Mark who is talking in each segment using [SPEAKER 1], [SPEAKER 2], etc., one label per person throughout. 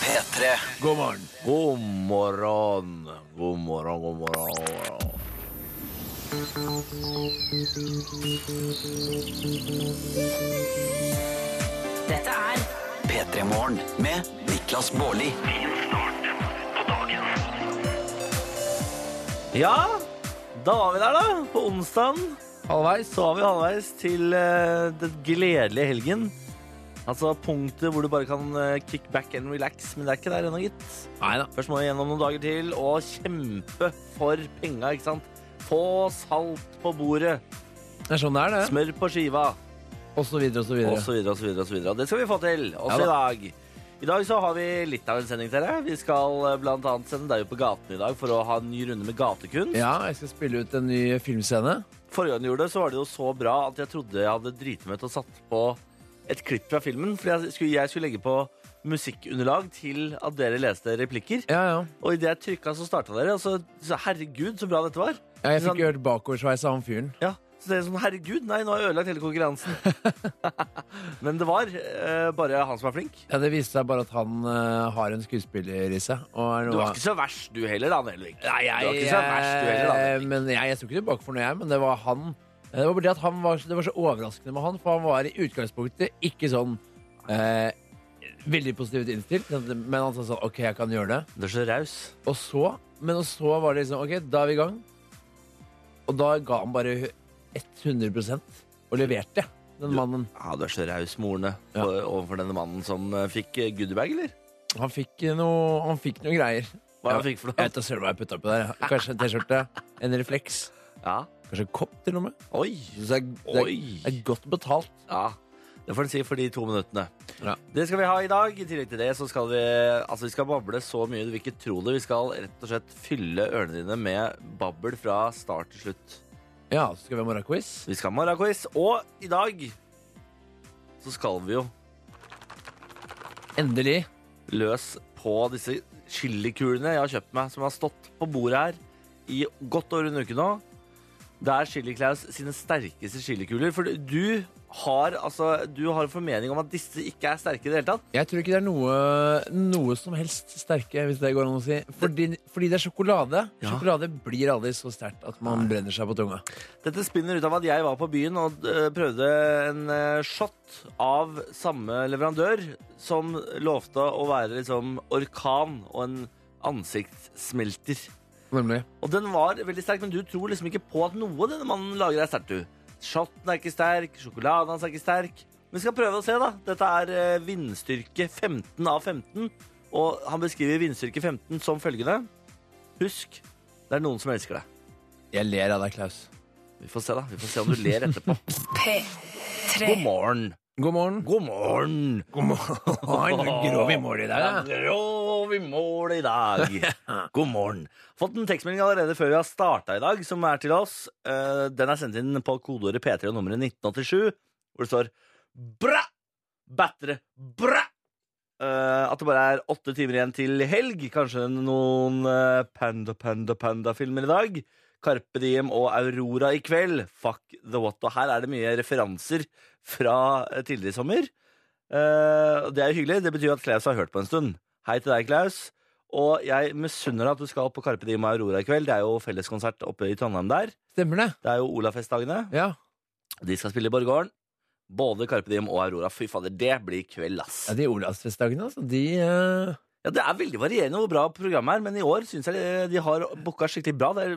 [SPEAKER 1] P3.
[SPEAKER 2] God morgen.
[SPEAKER 3] God morgen. God morgen, god morgen.
[SPEAKER 4] Dette er
[SPEAKER 1] P3 Morgen med Niklas Baarli.
[SPEAKER 3] Ja, da var vi der, da. På onsdagen.
[SPEAKER 2] Halvveis.
[SPEAKER 3] Så var vi halvveis til eh, den gledelige helgen. Altså punktet hvor du bare kan eh, kick back and relax, men det er ikke der ennå, gitt.
[SPEAKER 2] Nei da.
[SPEAKER 3] Først må du gjennom noen dager til og kjempe for penga, ikke sant. Få salt på bordet,
[SPEAKER 2] Det er sånn det er, det.
[SPEAKER 3] smør på skiva,
[SPEAKER 2] Og så videre og så
[SPEAKER 3] og
[SPEAKER 2] videre.
[SPEAKER 3] så videre og så videre. Og så videre. Og Det skal vi få til, også
[SPEAKER 2] Ja
[SPEAKER 3] i
[SPEAKER 2] da.
[SPEAKER 3] dag. I dag så har vi litt av en sending til deg. Vi skal eh, blant annet sende deg ut på gaten i dag for å ha en ny runde med gatekunst.
[SPEAKER 2] Ja, jeg skal spille ut en ny filmscene.
[SPEAKER 3] Forrige gang jeg gjorde det, så var det jo så bra at jeg trodde jeg hadde driti meg ut og satt på et klipp fra filmen. For jeg skulle, jeg skulle legge på musikkunderlag til at dere leste replikker.
[SPEAKER 2] Ja, ja.
[SPEAKER 3] Og idet jeg trykka, så starta dere. Og så, så herregud, så bra dette var.
[SPEAKER 2] ja jeg
[SPEAKER 3] Sånn-
[SPEAKER 2] fikk jo hørt bakoversveis av han fyren.
[SPEAKER 3] Ja, Så dere sånn herregud, nei, nå har jeg ødelagt hele konkurransen. Men det var eh, bare han som var flink.
[SPEAKER 2] Ja, det viste seg bare at han eh, har en skuespiller i seg. Og er
[SPEAKER 3] Du var ikke så verst du heller, da, Nelvik.
[SPEAKER 2] Nei, jeg,
[SPEAKER 3] du var ikke så verst du heller, da.
[SPEAKER 2] eh, Men jeg, jeg sto ikke tilbake for noe, jeg. Men det var han. Eh, Det var bare det at han var, det var så overraskende med han, for han var i utgangspunktet ikke sånn eh, veldig positivt innstilt. Men han sa sånn OK, jeg kan gjøre det.
[SPEAKER 3] Du er så raus.
[SPEAKER 2] Og så, men og så var det liksom Ok, da er vi i gang Og da ga han bare 100% Og leverte den mannen
[SPEAKER 3] Ja, du er så raus med ordene
[SPEAKER 2] Ja.
[SPEAKER 3] for- overfor denne mannen som eh, fikk eh, goodiebag, eller?
[SPEAKER 2] Han fikk noe, han fikk noe greier
[SPEAKER 3] Hva
[SPEAKER 2] Ja.
[SPEAKER 3] han fikk for
[SPEAKER 2] Jeg
[SPEAKER 3] noe?
[SPEAKER 2] vet da selv hva jeg puttet på der ja. Kanskje en t-skjorte, en refleks
[SPEAKER 3] Ja.
[SPEAKER 2] Kanskje en kopp til og med
[SPEAKER 3] Oi.
[SPEAKER 2] Så det er, det er,
[SPEAKER 3] Oi!
[SPEAKER 2] det er godt betalt
[SPEAKER 3] Ja, det får en si for de to minuttene.
[SPEAKER 2] Ja.
[SPEAKER 3] Det skal vi ha i dag. I tillegg til det så skal vi Altså vi skal bable så mye du vil ikke tro det. Vi skal rett og slett fylle ørene dine med babbel fra start til slutt.
[SPEAKER 2] Ja, så skal vi ha morgenquiz
[SPEAKER 3] Vi skal ha morgenquiz, og i dag så skal vi jo
[SPEAKER 2] Endelig
[SPEAKER 3] løs på disse chilikulene jeg har kjøpt meg, som har stått på bordet her i godt over en uke nå. Det er Chili Claus sine sterkeste chilikuler. For du har altså Du har en formening om at disse ikke er sterke i det hele tatt.
[SPEAKER 2] Jeg tror ikke det er noe, noe som helst sterke, hvis det går an å si. Fordi, fordi det er sjokolade.
[SPEAKER 3] Ja.
[SPEAKER 2] Sjokolade blir aldri så sterkt at man brenner seg på tunga.
[SPEAKER 3] Dette spinner ut av at jeg var på byen og eh, prøvde en eh, shot av samme leverandør, som lovte å være liksom orkan og en ansiktssmelter.
[SPEAKER 2] Nemlig.
[SPEAKER 3] Og den var veldig sterk, men du tror liksom ikke på at noe denne mannen lager er sterkt, du. Shotten er ikke sterk, sjokoladen hans er ikke sterk. Men vi skal prøve å se, da. Dette er eh, vindstyrke 15 av 15, og han beskriver vindstyrke 15 som følgende. Husk, det er noen som elsker deg.
[SPEAKER 2] Jeg ler av deg, Klaus.
[SPEAKER 3] Vi får se, da. Vi får se om du ler etterpå. God
[SPEAKER 4] P3.
[SPEAKER 3] morgen.
[SPEAKER 2] God morgen.
[SPEAKER 3] God morgen.
[SPEAKER 2] God morgen. Oi, nå grov i mål i dag. da.
[SPEAKER 3] Grov i mål i dag. God morgen. Fått en tekstmelding allerede før vi har starta i dag, som er til oss. Eh, Den er sendt inn på kodeordet P3 og nummeret 1987, hvor det står bra! Battere bra! Eh, at det bare er åtte timer igjen til helg. Kanskje noen eh, Panda Panda Panda-filmer i dag. Carpe Diem og Aurora i kveld. Fuck the what. Og her er det mye referanser fra eh, tidligere i sommer. Eh, og det er jo hyggelig. Det betyr at Klaus har hørt på en stund. Hei til deg, Klaus. Og jeg misunner deg at du skal på Carpe Diem og Aurora i kveld. Det er jo felleskonsert oppe i Trondheim der.
[SPEAKER 2] Stemmer det?
[SPEAKER 3] Det er jo Olafestdagene.
[SPEAKER 2] Ja.
[SPEAKER 3] De skal spille i Borggården. Både Carpe Diem og Aurora. Fy fader, det blir kveld, ass.
[SPEAKER 2] ja de Olavsfestdagene, altså. De eh,
[SPEAKER 3] Ja, Det er veldig varierende hvor bra programmet er, men i år syns jeg eh, de har booka skikkelig bra. Det er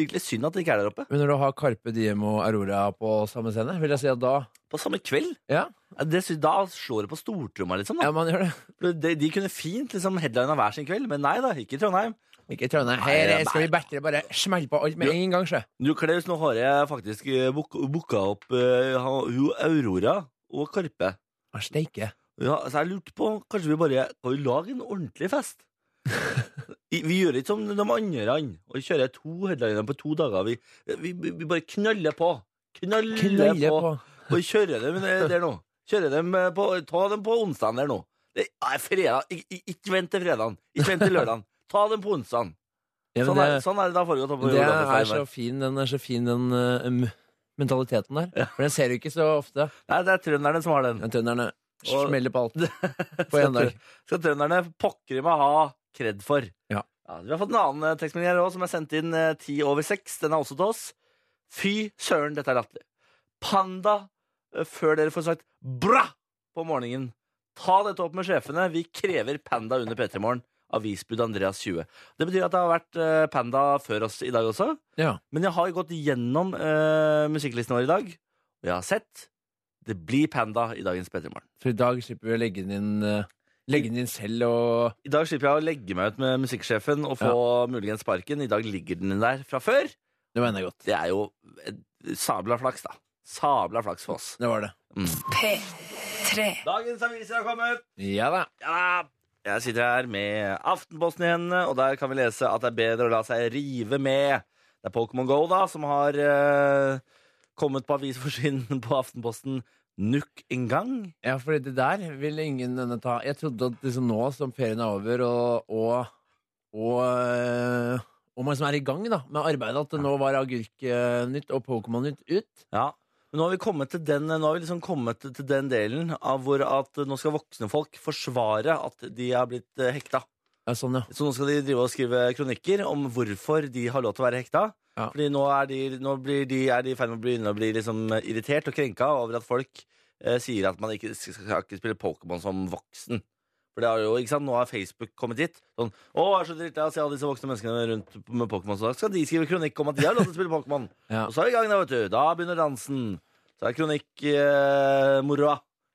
[SPEAKER 3] virkelig synd at de ikke er der oppe.
[SPEAKER 2] Men når du har Carpe Diem og Aurora på samme scene, vil jeg si at da
[SPEAKER 3] På samme kveld.
[SPEAKER 2] Ja,
[SPEAKER 3] Ja, Det sy- da slår det på stortromma, liksom.
[SPEAKER 2] ja
[SPEAKER 3] Da.
[SPEAKER 2] man gjør det.
[SPEAKER 3] De, de kunne fint liksom headlina hver sin kveld, men nei da, ikke i Trondheim.
[SPEAKER 2] Ikke i Trondheim.
[SPEAKER 3] Nei,
[SPEAKER 2] Her
[SPEAKER 3] det er
[SPEAKER 2] skal vi battere bare smelle på alt med
[SPEAKER 3] Ja.
[SPEAKER 2] en gang, sjø.
[SPEAKER 3] Du, Klaus, nå har jeg faktisk eh, book- booka opp eh, ha- hun Aurora og Karpe.
[SPEAKER 2] Ah, Steike.
[SPEAKER 3] Ja, så jeg lurte på, kanskje vi bare kan vi lage en ordentlig fest? I- vi gjør ikke som de andre, og vi kjører to headliner på to dager. Vi, vi, vi vi bare knaller på. Knaller,
[SPEAKER 2] Knalle
[SPEAKER 3] på.
[SPEAKER 2] på.
[SPEAKER 3] Og vi kjører dem der der nå. Kjører dem eh, på, ta dem på onsdagen der nå. Det er fredag. Ik- ik- Ikke vent til fredagen. Ikke vent til lørdagen. Ta dem på onsdagen.
[SPEAKER 2] Ja, men
[SPEAKER 3] Sånn er,
[SPEAKER 2] det-
[SPEAKER 3] sånn er det da foregått. oppe på
[SPEAKER 2] Det er
[SPEAKER 3] Olavsfestivalen.
[SPEAKER 2] så fin, den, er så fin, den eh, m- mentaliteten der. For den ser du ikke så ofte.
[SPEAKER 3] Nei, det er trønderne som har den.
[SPEAKER 2] Den trønderne.
[SPEAKER 3] Og-
[SPEAKER 2] Smeller på alt på én dag.
[SPEAKER 3] skal trønderne pokker i meg ha kred for.
[SPEAKER 2] Ja.
[SPEAKER 3] vi har fått en annen eh, tekstmelding her også, som er sendt inn eh, ti over seks. Den er også til oss. Fy søren, dette er latterlig. Panda, eh, før dere får sagt bra på morgenen. Ta dette opp med sjefene. Vi krever Panda under P3 Morgen. Avisbud Andreas 20. Det betyr at det har vært eh, Panda før oss i dag også.
[SPEAKER 2] Ja.
[SPEAKER 3] Men jeg har gått gjennom eh, musikklisten vår i dag, og jeg har sett det blir Panda i dagens P3 Morgen.
[SPEAKER 2] Så i dag slipper vi å legge den inn, eh, legge den inn selv og
[SPEAKER 3] I dag slipper jeg å legge meg ut med musikksjefen og få muligens sparken. I dag ligger den der fra før.
[SPEAKER 2] Det mener jeg godt.
[SPEAKER 3] Det er jo et sabla flaks, da. Sabla flaks for oss.
[SPEAKER 2] Det var det.
[SPEAKER 4] P3.
[SPEAKER 3] Dagens aviser har kommet!
[SPEAKER 2] Ja da.
[SPEAKER 3] Ja da! Jeg sitter her med Aftenposten i hendene, og der kan vi lese at det er bedre å la seg rive med. Det er Pokémon Go, da, som har eh, kommet på avisforsiden på Aftenposten nok en gang.
[SPEAKER 2] Ja, for det der vil ingen ende ta. Jeg trodde at liksom nå som ferien er over, og, og, og, øh, og man som er i gang da, med arbeidet, at det nå var Agurk-nytt og Pokémon-nytt ut.
[SPEAKER 3] Ja, men nå har vi kommet til den, nå har vi liksom kommet til den delen av hvor at nå skal voksne folk forsvare at de har blitt eh, hekta.
[SPEAKER 2] Ja, sånn, ja.
[SPEAKER 3] Så nå skal de drive og skrive kronikker om hvorfor de har lov til å være hekta.
[SPEAKER 2] Ja.
[SPEAKER 3] Fordi nå er de, nå blir de, er de i ferd med å begynne å bli liksom irritert og krenka over at folk eh, sier at man ikke skal, skal ikke spille Pokémon som voksen. For det har jo, ikke sant, Nå har Facebook kommet dit. Sånn, å, jeg er så drittlei av å se alle disse voksne menneskene rundt med Pokémon. Så da skal de skrive kronikk om at de har lov til å spille Pokémon.
[SPEAKER 2] Ja.
[SPEAKER 3] Og så er vi i gang, da, vet du. Da begynner dansen. Så er eh, kronikkmoroa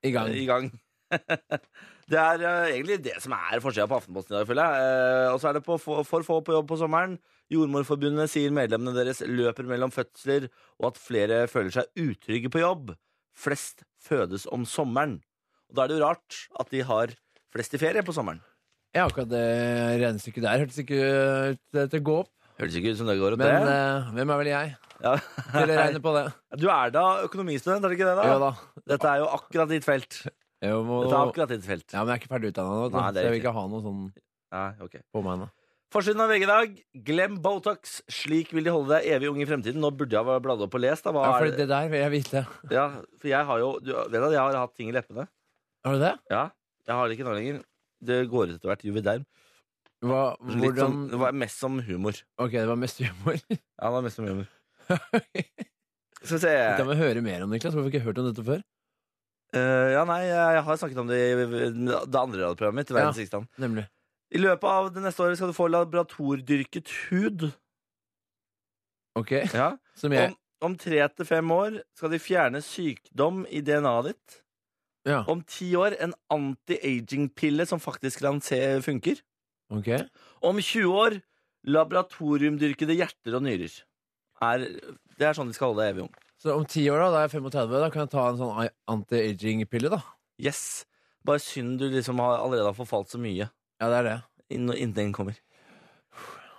[SPEAKER 2] I gang.
[SPEAKER 3] i gang. det er eh, egentlig det som er forskjellen på Aftenposten i dag, føler jeg. Eh, og så er det på for, for få på jobb på sommeren. Jordmorforbundet sier medlemmene deres løper mellom fødsler, og at flere føler seg utrygge på jobb. Flest fødes om sommeren. Og da er det jo rart at de har flest i ferie på sommeren.
[SPEAKER 2] Ja, akkurat det regnestykket der hørtes ikke ut til å gå opp.
[SPEAKER 3] Høres ikke ut som det går ut,
[SPEAKER 2] Men
[SPEAKER 3] det.
[SPEAKER 2] øh, hvem er vel jeg
[SPEAKER 3] Ja.
[SPEAKER 2] til å regne på det?
[SPEAKER 3] Du er da økonomistudent, er det ikke det? da?
[SPEAKER 2] Jo da.
[SPEAKER 3] Dette er jo akkurat ditt felt.
[SPEAKER 2] Jeg må...
[SPEAKER 3] Dette er akkurat ditt felt.
[SPEAKER 2] Ja, men jeg er ikke ferdig utdannet nå,
[SPEAKER 3] Nei, det er
[SPEAKER 2] så jeg vil
[SPEAKER 3] riktig.
[SPEAKER 2] ikke ha noe sånn
[SPEAKER 3] Nei, ok.
[SPEAKER 2] på meg nå.
[SPEAKER 3] Forsiden av VG i dag. Glem Botox. Slik vil de holde deg evig ung i fremtiden. Nå burde jeg ha bladd opp og lest. Da. Hva
[SPEAKER 2] Ja,
[SPEAKER 3] er
[SPEAKER 2] for
[SPEAKER 3] det?
[SPEAKER 2] det der vil jeg vite.
[SPEAKER 3] Ja, for jeg har jo du, Vet du, at jeg har hatt ting i leppene.
[SPEAKER 2] Har du det?
[SPEAKER 3] Ja, Jeg har det ikke nå lenger. Det går ut etter hvert juvederm.
[SPEAKER 2] Hva,
[SPEAKER 3] Litt sånn-
[SPEAKER 2] hvordan...
[SPEAKER 3] som, det var mest som humor.
[SPEAKER 2] Ok, det var mest humor.
[SPEAKER 3] Ja, det var mest som humor. Skal vi se
[SPEAKER 2] Dette må vi høre mer om, Niklas. Hvorfor har vi ikke hørt om dette før?
[SPEAKER 3] Eh, Ja, nei, jeg har snakket om det i det andre radioprogrammet mitt. Verdens rikeste land.
[SPEAKER 2] Nemlig.
[SPEAKER 3] I løpet av det neste året skal du få laboratoriedyrket hud.
[SPEAKER 2] Ok,
[SPEAKER 3] Ja
[SPEAKER 2] som jeg
[SPEAKER 3] Om, om tre til fem år skal de fjerne sykdom i DNA-et ditt.
[SPEAKER 2] Ja.
[SPEAKER 3] Om ti år en anti-aging-pille som faktisk kan se funker.
[SPEAKER 2] Ok,
[SPEAKER 3] Om 20 år laboratoriumdyrkede hjerter og nyrer. Er, det er sånn de skal holde deg evig ung.
[SPEAKER 2] Så om ti år, da, da er jeg 35, da kan jeg ta en sånn ai- anti-aging-pille, da.
[SPEAKER 3] Yes. Bare synd du liksom har, allerede har forfalt så mye
[SPEAKER 2] Ja, det er det.
[SPEAKER 3] inn- når inntil den kommer.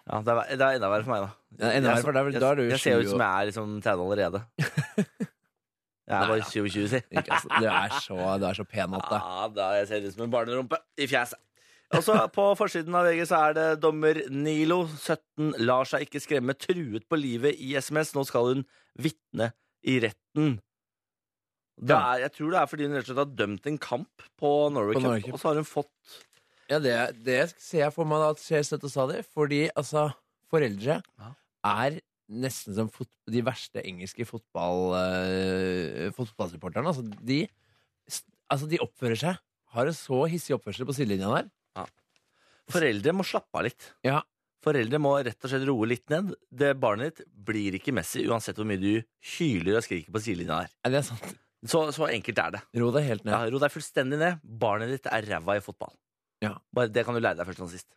[SPEAKER 3] Ja, det, er, ver- det er enda verre for meg, da.
[SPEAKER 2] Ja, enda verre, for da er vel- da er du
[SPEAKER 3] jeg, jeg ser jo
[SPEAKER 2] 20
[SPEAKER 3] ut som jeg er liksom 30 allerede. Jeg er bare 27, si.
[SPEAKER 2] Ikke, altså, du er så, du er så pen at det
[SPEAKER 3] Ja, da jeg ser ut som en barnerumpe i fjeset. Og så på forsiden av VG så er det dommer Nilo, 17, lar seg ikke skremme, truet på livet i SMS. Nå skal hun vitne i retten. Det
[SPEAKER 2] Ja.
[SPEAKER 3] er, jeg tror det er fordi hun rett og slett har dømt en kamp på Norway
[SPEAKER 2] På
[SPEAKER 3] Cup,
[SPEAKER 2] Norway Cup.
[SPEAKER 3] og så har hun fått
[SPEAKER 2] Ja, det, det ser jeg for meg da, at skjer støtt og stadig, fordi altså, foreldre
[SPEAKER 3] Ja.
[SPEAKER 2] er nesten som fot de verste engelske fotball, eh, fotballsupporterne. Altså, de, s- altså, de oppfører seg. Har en så hissig oppførsel på sidelinja der.
[SPEAKER 3] Foreldre må slappe av litt.
[SPEAKER 2] Ja.
[SPEAKER 3] Foreldre må rett og slett roe litt ned. Det Barnet ditt blir ikke Messi uansett hvor mye du hyler og skriker på sidelinja her.
[SPEAKER 2] Er det sant?
[SPEAKER 3] Så, så enkelt er det.
[SPEAKER 2] Ro deg helt ned.
[SPEAKER 3] Ja, ro deg fullstendig ned. Barnet ditt er ræva i fotball.
[SPEAKER 2] Ja.
[SPEAKER 3] Bare Det kan du lære deg først og sist.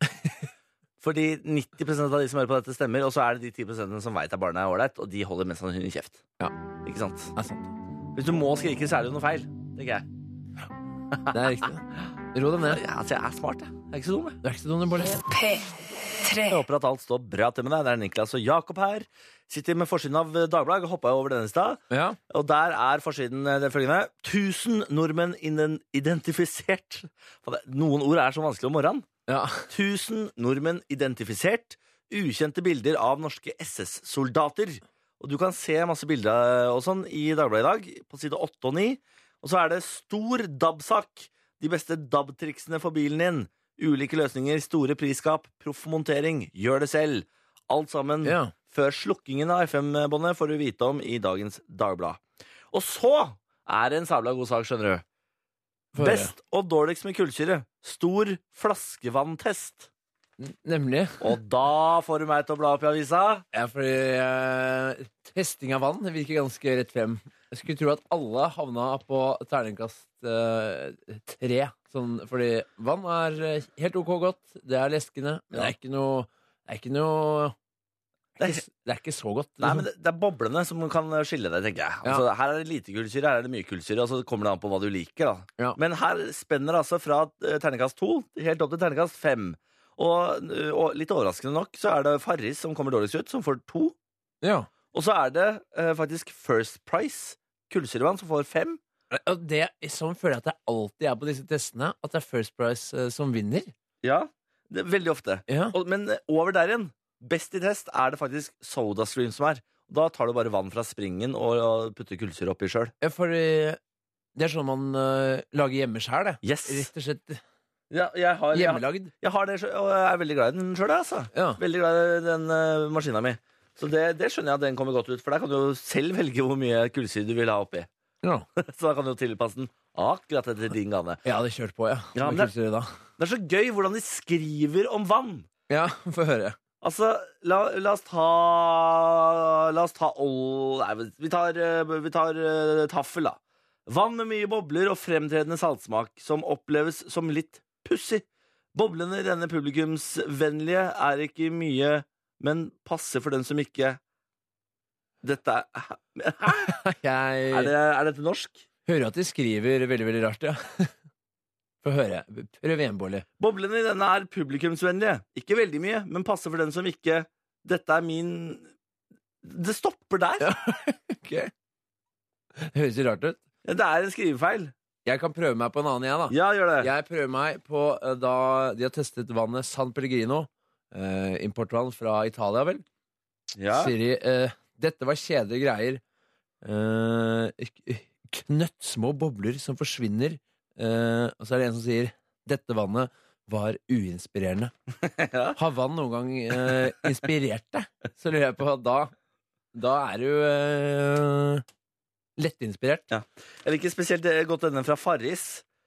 [SPEAKER 3] Fordi 90 av de som hører på dette, stemmer, og så er det de 10 som veit at barnet er ålreit, og de holder mest sannsynlig kjeft.
[SPEAKER 2] Ja.
[SPEAKER 3] Ikke sant?
[SPEAKER 2] Det er sant.
[SPEAKER 3] Hvis du må skrike, så er det jo noe feil. tenker jeg.
[SPEAKER 2] Det er riktig. Ro deg ned.
[SPEAKER 3] Ja, altså, jeg er smart, jeg. Jeg er ikke så dum, jeg.
[SPEAKER 2] Du er ikke så dum, du, Bård.
[SPEAKER 3] Jeg
[SPEAKER 4] P3.
[SPEAKER 3] håper at alt står bra til med deg. Det er Niklas og Jakob her. Sitter med forsiden av eh, Dagbladet. Hoppa jo over denne i stad.
[SPEAKER 2] Ja.
[SPEAKER 3] Og der er forsiden eh, den følgende. 1000 nordmenn innen identifisert. Faen, det- Noen ord er så vanskelig om morgenen.
[SPEAKER 2] ja.
[SPEAKER 3] 1000 nordmenn identifisert. Ukjente bilder av norske eh, SS-soldater. Og du kan se masse bilder og sånn i Dagbladet i dag, på side 8 og 9. Og så er det stor DAB-sak. De beste DAB-triksene for bilen din. Ulike løsninger, store prisskap, proff montering. Gjør det selv. Alt sammen
[SPEAKER 2] Ja.
[SPEAKER 3] før slukkingen av FM-båndet får du vite om i dagens Dagblad. Og så er det en sabla god sak, skjønner du.
[SPEAKER 2] Få høre.
[SPEAKER 3] Best og dårligst med kullsyre. Stor flaskevanntest.
[SPEAKER 2] N- Nemlig.
[SPEAKER 3] Og da får du meg til å bla opp i avisa.
[SPEAKER 2] Ja, fordi eh, testing av vann virker ganske rett frem. Jeg skulle tro at alle havna på terningkast eh, tre. Sånn, fordi vann er eh, helt OK godt, det er leskende, men det er ikke noe Det er ikke noe Det er ikke, s- det er ikke så godt.
[SPEAKER 3] Nei,
[SPEAKER 2] liksom.
[SPEAKER 3] men det, det er boblene som kan skille deg, tenker jeg.
[SPEAKER 2] Ja.
[SPEAKER 3] Altså, her er det lite kullsyre, her er det mye kullsyre, og så kommer det an på hva du liker. da.
[SPEAKER 2] Ja.
[SPEAKER 3] Men her spenner det altså fra eh, terningkast to helt opp til terningkast fem. Og, eh, og litt overraskende nok så er det Farris som kommer dårligst ut, som får to.
[SPEAKER 2] ja.
[SPEAKER 3] Og så er det eh, faktisk First Price kullsyrevann som får fem.
[SPEAKER 2] Og det, sånn føler jeg at det alltid er på disse testene, at det er First Price eh, som vinner.
[SPEAKER 3] Ja. Det, veldig ofte.
[SPEAKER 2] Ja.
[SPEAKER 3] Og, men over der igjen, best i test, er det faktisk SodaStream som er. Da tar du bare vann fra springen og, og putter kullsyre oppi sjøl.
[SPEAKER 2] Ja, Fordi det er sånn man eh, lager hjemme sjæl, det.
[SPEAKER 3] Yes.
[SPEAKER 2] Rett og slett
[SPEAKER 3] Ja, jeg, har, jeg,
[SPEAKER 2] hjemmelagd.
[SPEAKER 3] jeg har det selv, og jeg er veldig glad i den sjøl, altså.
[SPEAKER 2] Ja.
[SPEAKER 3] Veldig glad i den uh, maskina mi. Så det, det skjønner jeg at den kommer godt ut, for der kan du jo selv velge hvor mye kullsyre du vil ha oppi.
[SPEAKER 2] ja.
[SPEAKER 3] Så da kan du jo tilpasse den akkurat etter din gane.
[SPEAKER 2] Jeg hadde kjørt på, ja.
[SPEAKER 3] Ja,
[SPEAKER 2] Med
[SPEAKER 3] men det-
[SPEAKER 2] kullsyre da.
[SPEAKER 3] Det er så gøy hvordan de skriver om vann.
[SPEAKER 2] Ja, få høre.
[SPEAKER 3] Altså, la, la oss ta La oss ta all Nei, vi tar, eh, vi tar eh, taffel, da. Vann med mye bobler og fremtredende saltsmak, som oppleves som litt pussig. Boblene i denne publikumsvennlige er ikke mye, men passer for den som ikke Dette er Hæ?
[SPEAKER 2] Jeg
[SPEAKER 3] Er, det, er dette norsk?
[SPEAKER 2] hører at de skriver veldig, veldig rart, ja. Få høre. Prøv igjen, Bolli.
[SPEAKER 3] Boblene i denne er publikumsvennlige. Ikke veldig mye, men passer for den som ikke Dette er min Det stopper der.
[SPEAKER 2] Det høres jo rart ut.
[SPEAKER 3] Det er en skrivefeil.
[SPEAKER 2] Jeg kan prøve meg på en annen, jeg, da.
[SPEAKER 3] Ja, gjør det.
[SPEAKER 2] Jeg prøver meg på eh, da de har testet vannet San Pellegrino. Eh, importvann fra Italia, vel.
[SPEAKER 3] Ja.
[SPEAKER 2] Sier de eh, dette var kjedelige greier. Eh, k- knøttsmå bobler som forsvinner. Eh, og så er det en som sier dette vannet var uinspirerende.
[SPEAKER 3] Ja.
[SPEAKER 2] Har vann noen gang eh, inspirert deg? Så lurer jeg på at da Da er du eh, lettinspirert.
[SPEAKER 3] Jeg liker spesielt eh, godt denne fra Farris.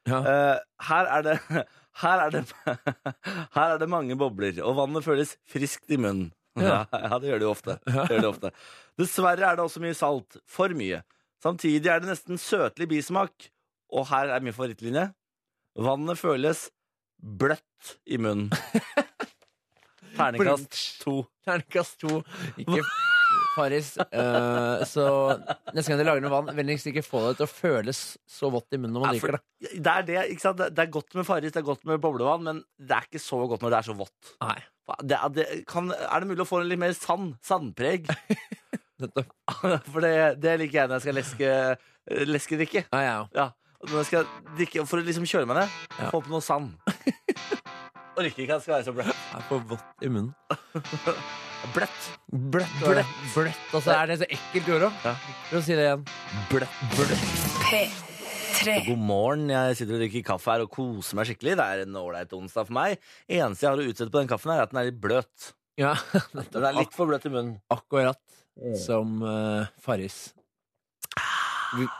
[SPEAKER 2] Ja.
[SPEAKER 3] Eh, her er det her er, det, her er det mange bobler, og vannet føles friskt i munnen. Ja,
[SPEAKER 2] Ja.
[SPEAKER 3] det gjør det jo ofte. Det gjør det ofte. Dessverre er det også mye salt. For mye. Samtidig er det nesten søtlig bismak. Og her er min favorittlinje. Vannet føles bløtt i munnen. Terningkast to.
[SPEAKER 2] Terningkast to. Ikke Farris. Eh, så neste gang du lager noe vann, vennligst ikke få det til å føles så vått i munnen når man
[SPEAKER 3] Ja, for-
[SPEAKER 2] drikker det.
[SPEAKER 3] Det er, det, ikke sant? Det- det er godt med Farris, det er godt med boblevann, men det er ikke så godt når det er så vått.
[SPEAKER 2] Nei,
[SPEAKER 3] Hva- Det, er- det, kan, er det mulig å få en litt mer sand, sandpreg?
[SPEAKER 2] nettopp.
[SPEAKER 3] For det, det liker jeg når jeg skal leske, leske drikke.
[SPEAKER 2] Nei, jeg òg.
[SPEAKER 3] Ja, når jeg skal drikke for å liksom kjøle meg ned.
[SPEAKER 2] Ja.
[SPEAKER 3] Få på noe sand. Og drikke ikke at det skal være så bløtt.
[SPEAKER 2] er for vått i munnen.
[SPEAKER 3] Bløtt.
[SPEAKER 2] Bløtt.
[SPEAKER 3] var det.
[SPEAKER 2] Bløtt. Bløtt. Og så er det så ekkelt ord òg.
[SPEAKER 3] Ja.
[SPEAKER 2] For å si det igjen.
[SPEAKER 3] Bløtt. bløtt.
[SPEAKER 4] P3.
[SPEAKER 3] God morgen. Jeg sitter og drikker kaffe her og koser meg skikkelig. Det er en ålreit onsdag for meg. Eneste jeg har å utsette på den kaffen, her er at den er litt bløt.
[SPEAKER 2] Ja,
[SPEAKER 3] Den er litt for bløt i munnen.
[SPEAKER 2] akkurat som eh, Farris. Vi-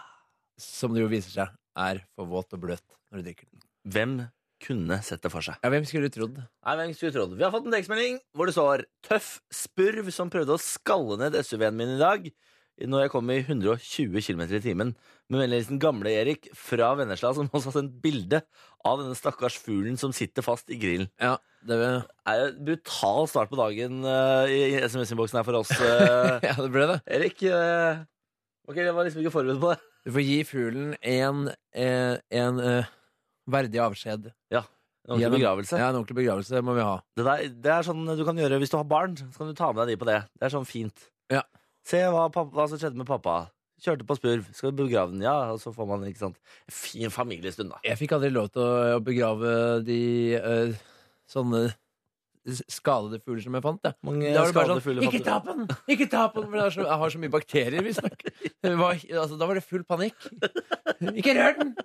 [SPEAKER 2] Som det jo viser seg er for våt og bløt når du drikker den.
[SPEAKER 3] Hvem kunne sett det for seg?
[SPEAKER 2] Ja, Hvem skulle du trodd?
[SPEAKER 3] Nei, men skulle tro det. Vi har fått en tekstmelding hvor det står Tøff spurv som prøvde å skalle ned SUV-en min i dag når jeg kom i 120 km i timen. Med vennligheten gamle Erik fra Vennesla, som også har sendt bilde av denne stakkars fuglen som sitter fast i grillen.
[SPEAKER 2] Ja, det,
[SPEAKER 3] Det er jo en brutal start på dagen eh, i i SMS-innboksen her for oss, eh,
[SPEAKER 2] ja, det ble det.
[SPEAKER 3] Erik. eh, ok, jeg var liksom ikke forberedt på det.
[SPEAKER 2] Du får gi fuglen en, eh, en eh, verdig avskjed.
[SPEAKER 3] En ordentlig
[SPEAKER 2] Gjennom-
[SPEAKER 3] begravelse.
[SPEAKER 2] Ja, En ordentlig begravelse må vi ha.
[SPEAKER 3] Det, der, det er sånn du kan gjøre hvis du har barn. Så kan du ta med deg de på det. Det er sånn fint.
[SPEAKER 2] Ja.
[SPEAKER 3] Se hva, pappa, hva som skjedde med pappa. Kjørte på spurv. Skal du begrave den? Ja, og så får man ikke sant? Fin familiestund, da.
[SPEAKER 2] Jeg fikk aldri lov til å, å begrave de eh, sånne skadede fugler som jeg fant. Ja.
[SPEAKER 3] Mange
[SPEAKER 2] Da var det bare
[SPEAKER 3] skadede
[SPEAKER 2] sånn,
[SPEAKER 3] fugler fant
[SPEAKER 2] Ikke
[SPEAKER 3] du.
[SPEAKER 2] ta på den! Ikke ta på den! For det er så, jeg har så mye bakterier, visstnok. Det var- Altså, da var det full panikk. Ikke rør den!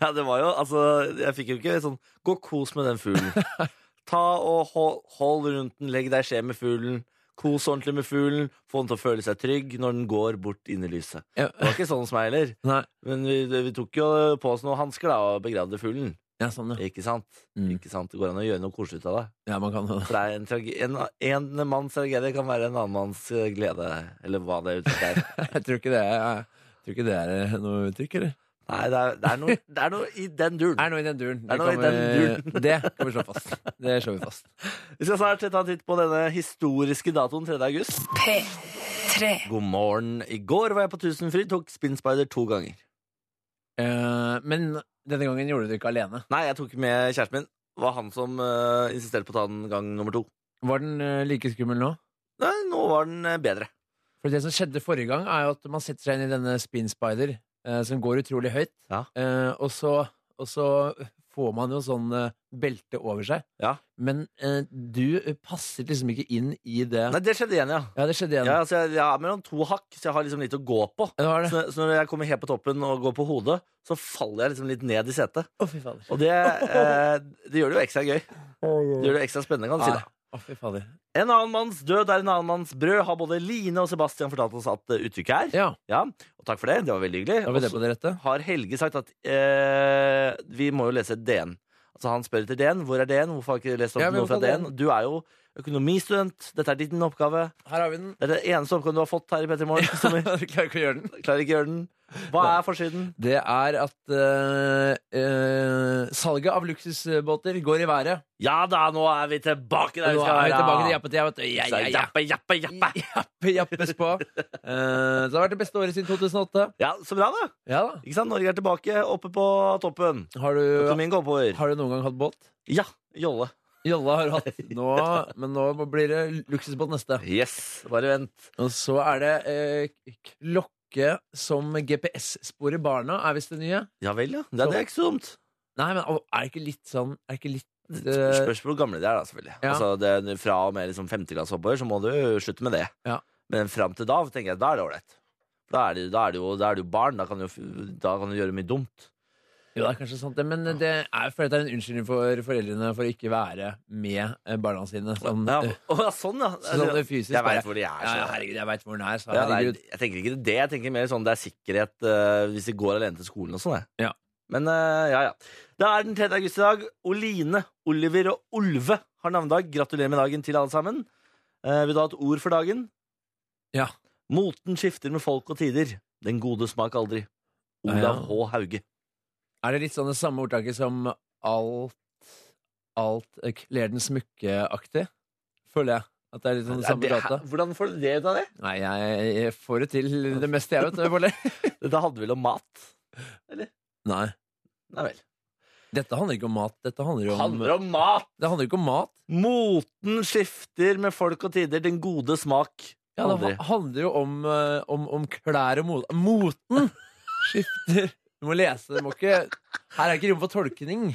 [SPEAKER 3] Ja, det var jo, altså, jeg fikk jo ikke sånn Gå og kos med den fuglen. Ta og hold, hold rundt den, legg deg skje med fuglen. Kos ordentlig med fuglen, få den til å føle seg trygg når den går bort inn i lyset.
[SPEAKER 2] Ja.
[SPEAKER 3] Det var ikke sånn som jeg heller.
[SPEAKER 2] Nei.
[SPEAKER 3] Men vi, vi tok jo på oss noen hansker da, og begravde fuglen.
[SPEAKER 2] Ja, sånn, ja.
[SPEAKER 3] Ikke sant?
[SPEAKER 2] Mm.
[SPEAKER 3] Ikke sant? Det går an å gjøre noe koselig ut av det.
[SPEAKER 2] ja, man kan
[SPEAKER 3] For det er en, trage, en, en manns tragedie kan være en annen manns eh, glede, eller hva det uttrykket er.
[SPEAKER 2] Jeg tror ikke det er, jeg tror ikke det er eh, noe uttrykk, eller?
[SPEAKER 3] Nei, det er, det, er noe, det er noe i den duren.
[SPEAKER 2] Er noe i den duren.
[SPEAKER 3] Er noe i
[SPEAKER 2] kan
[SPEAKER 3] den
[SPEAKER 2] vi- det kan vi slå fast. Det slår vi fast.
[SPEAKER 3] Vi skal snart ta en titt på denne historiske datoen 3. august.
[SPEAKER 4] P3.
[SPEAKER 3] God morgen. I går var jeg på Tusenfryd, tok Spinnspider to ganger.
[SPEAKER 2] Eh, men denne gangen gjorde du det ikke alene.
[SPEAKER 3] Nei, jeg tok med kjæresten min. Det var han som eh, insisterte på å ta den gang nummer to.
[SPEAKER 2] Var den eh, like skummel nå?
[SPEAKER 3] Nei, nå var den eh, bedre.
[SPEAKER 2] For det som skjedde forrige gang, er jo at man setter seg inn i denne Spin Spider, eh, som går utrolig høyt.
[SPEAKER 3] Ja.
[SPEAKER 2] Eh, og, så, og så får man jo sånn eh, belte over seg.
[SPEAKER 3] Ja.
[SPEAKER 2] Men eh, du passer liksom ikke inn i det.
[SPEAKER 3] Nei, det skjedde igjen, ja.
[SPEAKER 2] Ja, det skjedde igjen.
[SPEAKER 3] ja altså, jeg, jeg er mellom to hakk, så jeg har liksom litt å gå på.
[SPEAKER 2] Det var det.
[SPEAKER 3] Så, så når jeg kommer helt på toppen og går på hodet, så faller jeg liksom litt ned i setet.
[SPEAKER 2] Å, fy fader.
[SPEAKER 3] Og det, eh, det gjør det jo ekstra gøy. Det gjør det ekstra spennende, kan du si.
[SPEAKER 2] Nei.
[SPEAKER 3] det.
[SPEAKER 2] Å, fy fader.
[SPEAKER 3] En annen manns død er en annen manns brød, har både Line og Sebastian fortalt oss at eh, uttrykket er.
[SPEAKER 2] Ja,
[SPEAKER 3] Ja, og takk for det. Det var veldig hyggelig.
[SPEAKER 2] da var det på det rette.
[SPEAKER 3] Og så har Helge sagt at eh, vi må jo lese DN. Altså Han spør etter DN. Hvor er DN? Hvorfor har jeg ikke lest opp
[SPEAKER 2] Ja, vi må
[SPEAKER 3] noe fra
[SPEAKER 2] ta DN.
[SPEAKER 3] DN? Du er jo økonomistudent. Dette er din oppgave.
[SPEAKER 2] Her har vi den.
[SPEAKER 3] Det er den eneste oppgaven du har fått her i P3 Morgen. som vi
[SPEAKER 2] Du klarer ikke å gjøre den.
[SPEAKER 3] Klarer ikke å gjøre den. Hva er forsiden?
[SPEAKER 2] Det er at eh, eh, salget av luksusbåter går i været.
[SPEAKER 3] Ja da, nå er vi tilbake der
[SPEAKER 2] Nå
[SPEAKER 3] vi skal
[SPEAKER 2] er vi
[SPEAKER 3] være.
[SPEAKER 2] tilbake til jappetida, vet du. Ja,
[SPEAKER 3] Så
[SPEAKER 2] ja, ja.
[SPEAKER 3] Jappe, jappe, jappe.
[SPEAKER 2] Jappe, jappes på. Eh, så det har vært det beste året siden 2008.
[SPEAKER 3] Ja, Så bra, da.
[SPEAKER 2] Ja da.
[SPEAKER 3] Ikke sant? Norge er tilbake oppe på toppen.
[SPEAKER 2] Har du,
[SPEAKER 3] Økonomien går oppover.
[SPEAKER 2] har du noen gang hatt båt?
[SPEAKER 3] Ja. Jolle.
[SPEAKER 2] Jolla har du hatt. Nå, men nå blir det luksusbåt neste.
[SPEAKER 3] Yes. Bare vent.
[SPEAKER 2] Og så er det eh, klokke som GPS-sporer barna, er visst det nye.
[SPEAKER 3] Ja vel, ja. Det, det er ikke så dumt.
[SPEAKER 2] Nei, men au, er det ikke litt sånn Er det ikke litt
[SPEAKER 3] Spørs
[SPEAKER 2] eh,
[SPEAKER 3] spørs hvor gamle de er, da, selvfølgelig.
[SPEAKER 2] Ja.
[SPEAKER 3] Altså, det, fra og med liksom femte klasse oppover, så må du slutte med det.
[SPEAKER 2] Ja.
[SPEAKER 3] Men fram til da tenker jeg da er det ålreit. Da er det- da er det jo da er det jo barn. Da kan du, jo f- da kan du gjøre mye dumt.
[SPEAKER 2] Jo, det er kanskje sant, det. Men det er, jeg føler at det er en unnskyldning for foreldrene for å ikke være med eh, barna sine. Sånn,
[SPEAKER 3] Ja.
[SPEAKER 2] eh,
[SPEAKER 3] Å, ja, sånn, ja.
[SPEAKER 2] sånn fysisk.
[SPEAKER 3] jeg
[SPEAKER 2] bare,
[SPEAKER 3] veit hvor de er.
[SPEAKER 2] ja,
[SPEAKER 3] Så.
[SPEAKER 2] herregud, jeg veit hvor den er, sa
[SPEAKER 3] Ja, nei,
[SPEAKER 2] herregud.
[SPEAKER 3] jeg tenker ikke det. Jeg tenker mer sånn det er sikkerhet eh, hvis de går alene til skolen og sånn. jeg.
[SPEAKER 2] Ja.
[SPEAKER 3] Men eh, ja, ja. Det er den 3. august i dag. Oline, Oliver og Olve har navnedag. Gratulerer med dagen til alle sammen. Eh, vil du ha et ord for dagen?
[SPEAKER 2] Ja.
[SPEAKER 3] Moten skifter med folk og tider. Den gode smak aldri.
[SPEAKER 2] Ja.
[SPEAKER 3] Olav H. Hauge.
[SPEAKER 2] Er det litt sånn det samme ordtaket som alt Alt kler den smukke-aktig? Føler jeg. At det er litt sånn
[SPEAKER 3] Er
[SPEAKER 2] samme
[SPEAKER 3] det-
[SPEAKER 2] gata.
[SPEAKER 3] hæ? hvordan får du det ut av det?
[SPEAKER 2] Nei, jeg, jeg får det til det meste, jeg, vet du. Bolle.
[SPEAKER 3] Dette handler vel om mat?
[SPEAKER 2] Nei.
[SPEAKER 3] Nei vel.
[SPEAKER 2] Dette handler ikke om mat. Dette handler jo om,
[SPEAKER 3] Handler om mat!
[SPEAKER 2] Det handler ikke om mat.
[SPEAKER 3] Moten skifter med folk og tider. Den gode smak
[SPEAKER 2] Ja, det
[SPEAKER 3] aldri.
[SPEAKER 2] ha- handler jo om, eh, om, om klær og mot. Moten skifter. Du må lese. Du må ikke Her er ikke rom for tolkning.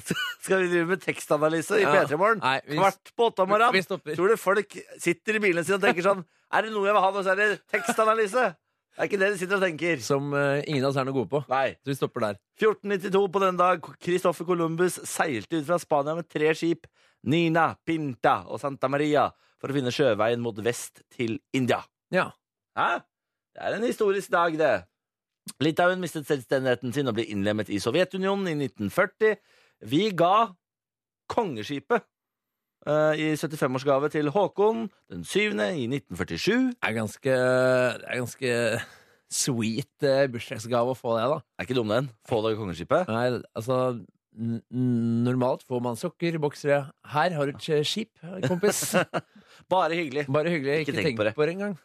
[SPEAKER 3] Skal vi drive med tekstanalyse i
[SPEAKER 2] Ja.
[SPEAKER 3] P3 Morgen?
[SPEAKER 2] Nei, vi-
[SPEAKER 3] Kvart på åtte om
[SPEAKER 2] Vi
[SPEAKER 3] morgenen?
[SPEAKER 2] stopper.
[SPEAKER 3] Tror du folk sitter i bilene sine og tenker sånn Er det noe jeg vil ha nå, så er det tekstanalyse? Det er ikke det de sitter og tenker.
[SPEAKER 2] Som eh, ingen av oss er noe gode på.
[SPEAKER 3] Nei.
[SPEAKER 2] Så vi stopper der.
[SPEAKER 3] 1492 på den dag Kristoffer Columbus seilte ut fra Spania med tre skip, Nina, Pinta og Santa Maria, for å finne sjøveien mot vest til India.
[SPEAKER 2] Ja.
[SPEAKER 3] Hæ? Det er en historisk dag, det. Litauen mistet selvstendigheten sin og ble innlemmet i Sovjetunionen i 1940. Vi ga kongeskipet eh, i 75-årsgave til Håkon den 7. i 1947.
[SPEAKER 2] er ganske, det er ganske sweet eh, bursdagsgave å få det, da.
[SPEAKER 3] Er ikke dum, den. Få deg kongeskipet.
[SPEAKER 2] Nei, altså n- n- Normalt får man sokker, boksere. Her har du et eh, skip, kompis.
[SPEAKER 3] Bare hyggelig.
[SPEAKER 2] Bare hyggelig. Ikke, tenk på det, engang.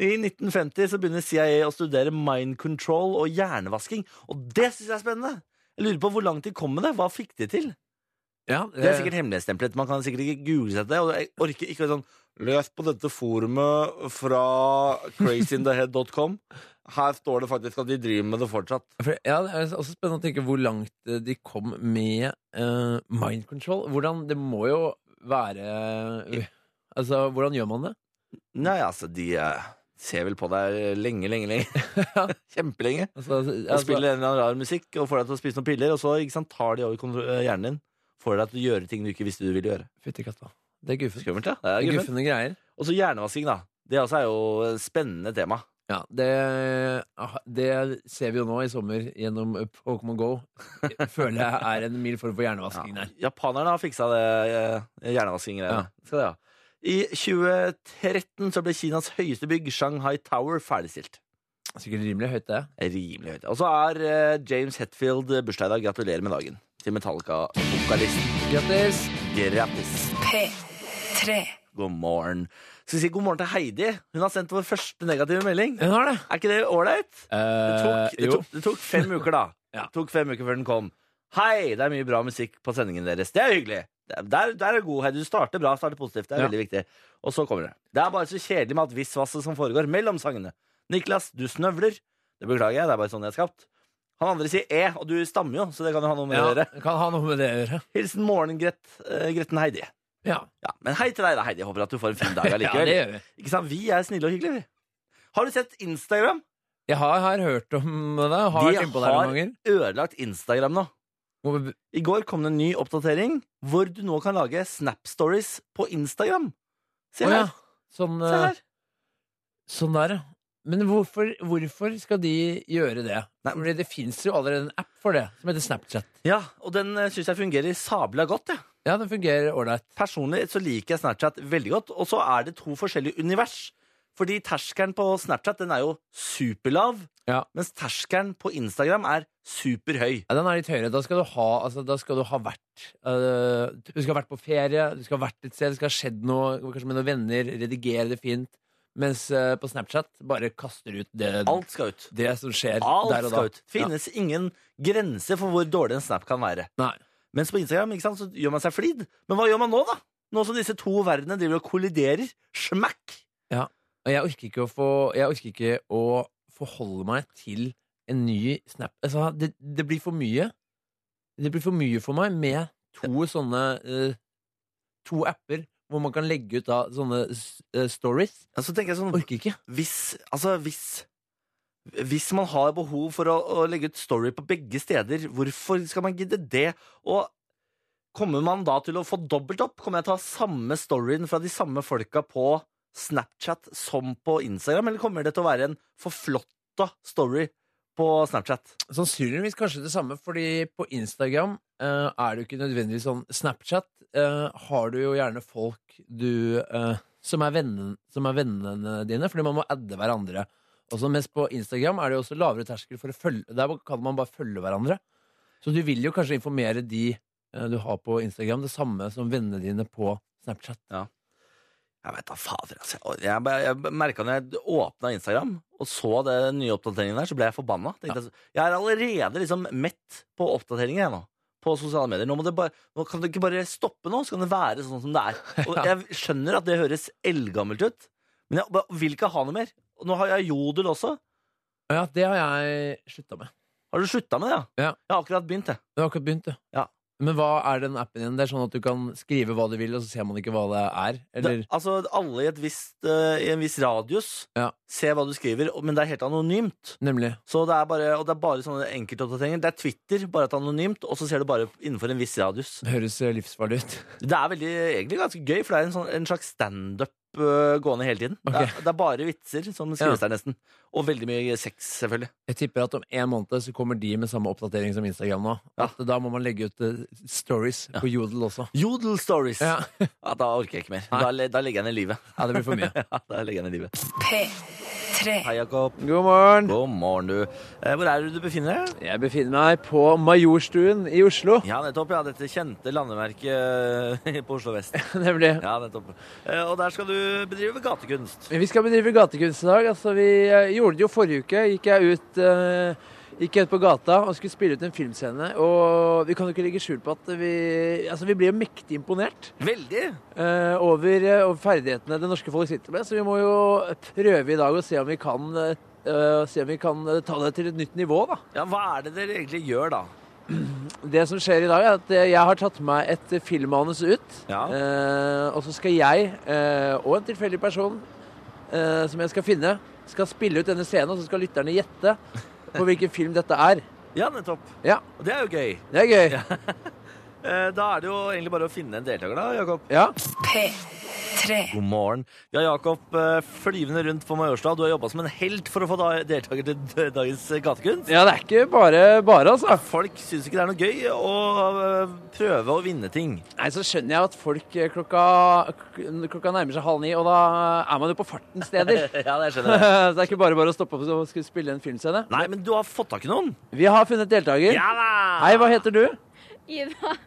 [SPEAKER 3] I 1950 så begynner CIA å studere mind control og hjernevasking. Og det syns jeg er spennende! Jeg lurer på Hvor langt de kom med det. Hva fikk de til?
[SPEAKER 2] Ja,
[SPEAKER 3] Det er sikkert hemmelighetsstemplet. Man kan sikkert ikke google seg til det. Og jeg orker ikke være sånn Les på dette forumet fra crazyinthehead.com. Her står det faktisk at de driver med det fortsatt.
[SPEAKER 2] for, ja, det er også spennende å tenke hvor langt eh, de kom med eh, mind control. Hvordan, det må jo være Altså, hvordan gjør man det?
[SPEAKER 3] Nei, altså, de eh, ser vel på deg lenge, lenge, lenge. Kjempelenge.
[SPEAKER 2] Altså,
[SPEAKER 3] Og
[SPEAKER 2] altså,
[SPEAKER 3] spiller en eller annen rar musikk og får deg til å spise noen piller, og så ikke sant, tar de over kontro- eh, hjernen din. Får deg til å gjøre ting du ikke visste du ville gjøre.
[SPEAKER 2] Fytti katta. Det er guffent.
[SPEAKER 3] Skummelt, ja. Det
[SPEAKER 2] Det
[SPEAKER 3] er
[SPEAKER 2] er
[SPEAKER 3] guffen.
[SPEAKER 2] guffende greier.
[SPEAKER 3] Og så hjernevasking, da. Det også er jo et spennende tema.
[SPEAKER 2] Ja, det, ah, det ser vi jo nå i sommer gjennom eh, Pokémon Go. Føler jeg er en mild form for hjernevasking
[SPEAKER 3] Ja.
[SPEAKER 2] der.
[SPEAKER 3] Japanerne har fiksa det eh,
[SPEAKER 2] Ja.
[SPEAKER 3] hjernevasking-greiene. Skal det, ja. I 2013 så ble Kinas høyeste bygg, Shanghai Tower, ferdigstilt.
[SPEAKER 2] Sikkert rimelig høyt, det.
[SPEAKER 3] Rimelig høyt. Og så er eh, James Hetfield bursdag i dag. Gratulerer med dagen til Metallica-vokalisten.
[SPEAKER 2] Grattis!
[SPEAKER 3] Grattis.
[SPEAKER 4] P3.
[SPEAKER 3] God morgen. Skal vi si god morgen til Heidi? Hun har sendt vår første negative melding.
[SPEAKER 2] Hun har det.
[SPEAKER 3] Er ikke det ålreit? Det, tok-
[SPEAKER 2] Eh,
[SPEAKER 3] det,
[SPEAKER 2] jo.
[SPEAKER 3] tok- det tok fem uker, da.
[SPEAKER 2] Ja.
[SPEAKER 3] Det tok fem uker før den kom. Hei, det er mye bra musikk på sendingen deres. Det er hyggelig. Det- Der, der er god, Heidi. Du starter bra, starter positivt. Det er
[SPEAKER 2] Ja.
[SPEAKER 3] veldig viktig. Og så kommer det. Det er bare så kjedelig med alt visvasset som foregår mellom sangene. Niklas, du snøvler. Det beklager jeg, det er bare sånn jeg er skapt. Han andre sier E, og du stammer jo, så det kan jo ha noe med
[SPEAKER 2] Ja,
[SPEAKER 3] å gjøre.
[SPEAKER 2] kan ha noe med det å gjøre.
[SPEAKER 3] Hilsen morgen-Gretten Heidi.
[SPEAKER 2] Ja,
[SPEAKER 3] Ja, Men hei til deg, da, Heidi. Håper at du får en fin dag
[SPEAKER 2] ja
[SPEAKER 3] allikevel.
[SPEAKER 2] det gjør vi.
[SPEAKER 3] Ikke sant? Vi er snille og hyggelige, vi. Har du sett Instagram?
[SPEAKER 2] Jeg har, har hørt om det. Har
[SPEAKER 3] De
[SPEAKER 2] vært innpå der
[SPEAKER 3] har-
[SPEAKER 2] noen ganger.
[SPEAKER 3] Ødelagt Instagram nå.
[SPEAKER 2] Må-
[SPEAKER 3] I går kom det en ny oppdatering hvor du nå kan lage Snap-stories på Instagram. Se
[SPEAKER 2] Å, ja.
[SPEAKER 3] her.
[SPEAKER 2] Sånn,
[SPEAKER 3] Se
[SPEAKER 2] eh,
[SPEAKER 3] her.
[SPEAKER 2] sånn der, ja. Men hvorfor, hvorfor skal de gjøre det?
[SPEAKER 3] Nei.
[SPEAKER 2] Fordi det fins jo allerede en app for det, som heter Snapchat.
[SPEAKER 3] Ja, og den syns jeg fungerer sabla godt. jeg.
[SPEAKER 2] Ja, den fungerer ålreit.
[SPEAKER 3] Personlig så liker jeg Snapchat veldig godt. Og så er det to forskjellige univers. Fordi terskelen på Snapchat den er jo superlav,
[SPEAKER 2] Ja.
[SPEAKER 3] mens terskelen på Instagram er superhøy.
[SPEAKER 2] Ja, den er litt høyere. Da skal du ha, altså, da skal du ha vært øh, Du skal ha vært på ferie, du skal ha vært et sted, det skal ha skjedd noe, kanskje med noen venner, redigere det fint. Mens øh, på Snapchat bare kaster ut det,
[SPEAKER 3] Alt skal ut.
[SPEAKER 2] det som skjer Mm. der
[SPEAKER 3] Alt
[SPEAKER 2] og da.
[SPEAKER 3] skal ut. Finnes ingen grense for hvor dårlig en snap kan være.
[SPEAKER 2] Nei.
[SPEAKER 3] Mens på Instagram ikke sant, så gjør man seg flid. Men hva gjør man nå, da? Nå som disse to verdenene driver og kolliderer. Smack!
[SPEAKER 2] Og jeg orker ikke å få Jeg orker ikke å forholde meg til en ny Snap. Altså, det, det blir for mye. Det blir for mye for meg med to sånne øh, To apper hvor man kan legge ut da sånne s- øh, stories.
[SPEAKER 3] Ja, Så tenker jeg sånn
[SPEAKER 2] Orker ikke.
[SPEAKER 3] Hvis Altså, hvis hvis man har behov for å, å legge ut story på begge steder, hvorfor skal man gidde det? Og kommer man da til å få dobbelt opp? Kommer jeg til å ha samme storyen fra de samme folka på Snapchat som på Instagram, eller kommer det til å være en forflotta story på Snapchat?
[SPEAKER 2] Sannsynligvis kanskje det samme, fordi på Instagram eh, er det jo ikke nødvendigvis sånn. Snapchat eh, har du jo gjerne folk du eh, som, er vennen, som er vennene dine, fordi man må adde hverandre. Også mens på Instagram er det jo også lavere terskel for å følge Der kan man bare følge hverandre. Så du vil jo kanskje informere de eh, du har på Instagram, det samme som vennene dine på Snapchat.
[SPEAKER 3] Jeg vet da fader, altså. Jeg, jeg, bare- jeg merka når jeg åpna Instagram og så den nye oppdateringen der, så ble jeg forbanna. Tenkte Jeg, så- jeg er allerede liksom mett på oppdateringer jeg nå. På sosiale medier. Nå, må det bare, nå kan det ikke bare stoppe nå, så kan det være sånn som det er. Og jeg skjønner at det høres eldgammelt ut, men jeg bare vil ikke ha noe mer. Og nå har jeg Jodel også.
[SPEAKER 2] Og Ja, det har jeg slutta med.
[SPEAKER 3] Har du slutta med det, ja?
[SPEAKER 2] Ja.
[SPEAKER 3] Jeg har akkurat begynt, jeg.
[SPEAKER 2] Det har akkurat begynt, du.
[SPEAKER 3] Ja.
[SPEAKER 2] Men hva er den appen igjen? Det er sånn at du kan skrive hva du vil, og så ser man ikke hva det er? Eller
[SPEAKER 3] Det, altså, alle i, et visst, eh, i en viss radius
[SPEAKER 2] Ja.
[SPEAKER 3] ser hva du skriver, og- men det er helt anonymt.
[SPEAKER 2] Nemlig.
[SPEAKER 3] Så det er bare, og det er bare sånne enkeltoppdateringer. Det er Twitter, bare at det er anonymt, og så ser du bare innenfor en viss radius.
[SPEAKER 2] Det høres eh, livsfarlig ut.
[SPEAKER 3] Det er veldig, egentlig ganske gøy, for det er en, sånn, en slags standup øh, gående hele tiden.
[SPEAKER 2] Ok.
[SPEAKER 3] Det, er, det er bare vitser som skrives der, nesten. Og veldig mye sex, selvfølgelig.
[SPEAKER 2] Jeg tipper at om en måned så kommer de med samme oppdatering som Instagram nå.
[SPEAKER 3] Ja.
[SPEAKER 2] At da må man legge ut eh, stories på Jodel også.
[SPEAKER 3] Jodel stories!
[SPEAKER 2] Ja.
[SPEAKER 3] Ja. da orker jeg ikke mer. Da, le- da legger jeg ned livet.
[SPEAKER 2] ja, det blir for mye.
[SPEAKER 3] Ja, da legger jeg ned livet.
[SPEAKER 4] P3.
[SPEAKER 3] Hei, Jakob.
[SPEAKER 2] God morgen!
[SPEAKER 3] God morgen, du. Eh, Hvor er det du befinner deg?
[SPEAKER 2] Jeg befinner meg på Majorstuen i Oslo.
[SPEAKER 3] Ja, nettopp. Ja, dette kjente landemerket eh, på Oslo vest.
[SPEAKER 2] Nemlig.
[SPEAKER 3] Ja, nettopp. Eh, Og der skal du bedrive gatekunst.
[SPEAKER 2] Vi skal bedrive gatekunst i dag. Altså, vi eh, gjorde det jo forrige uke. Gikk jeg ut, eh, gikk jeg ut på gata og skulle spille ut en filmscene. Og vi kan jo ikke legge skjul på at vi, altså, vi blir jo mektig imponert.
[SPEAKER 3] Veldig!
[SPEAKER 2] eh, over, eh, over ferdighetene det norske folk sitter med. Så vi må jo prøve i dag å se om vi kan, eh, eh, se om vi kan eh, ta det til et nytt nivå, da.
[SPEAKER 3] Ja, Hva er det dere egentlig gjør, da?
[SPEAKER 2] det som skjer i dag, er at eh, jeg har tatt med meg et eh, filmmanus ut.
[SPEAKER 3] Ja.
[SPEAKER 2] Eh, og så skal jeg, eh, og en tilfeldig person eh, som jeg skal finne, skal spille ut denne scenen, og så skal lytterne gjette på hvilken film dette er.
[SPEAKER 3] Ja, nettopp.
[SPEAKER 2] Ja,
[SPEAKER 3] Og det er jo gøy.
[SPEAKER 2] det er gøy.
[SPEAKER 3] Eh, Da er det jo egentlig bare å finne en deltaker, da, Jakob.
[SPEAKER 2] Ja.
[SPEAKER 4] P3.
[SPEAKER 3] God morgen. Ja, Jakob, eh, flyvende rundt på Majorstua. Du har jobba som en helt for å få da- deltaker til d- dagens eh, gatekunst.
[SPEAKER 2] ja, det er ikke bare bare, altså.
[SPEAKER 3] Folk syns ikke det er noe gøy å eh, prøve å vinne ting.
[SPEAKER 2] Nei, så skjønner jeg at folk eh, klokka, k- klokka nærmer seg halv ni, og da eh, er man jo på farten steder.
[SPEAKER 3] ja, det
[SPEAKER 2] så
[SPEAKER 3] skjønner jeg.
[SPEAKER 2] det er ikke bare bare å stoppe opp og skulle spille en filmscene.
[SPEAKER 3] Nei, men du har fått tak i noen.
[SPEAKER 2] Vi har funnet deltaker.
[SPEAKER 3] da!
[SPEAKER 2] Hei, hva heter du?
[SPEAKER 5] Ida.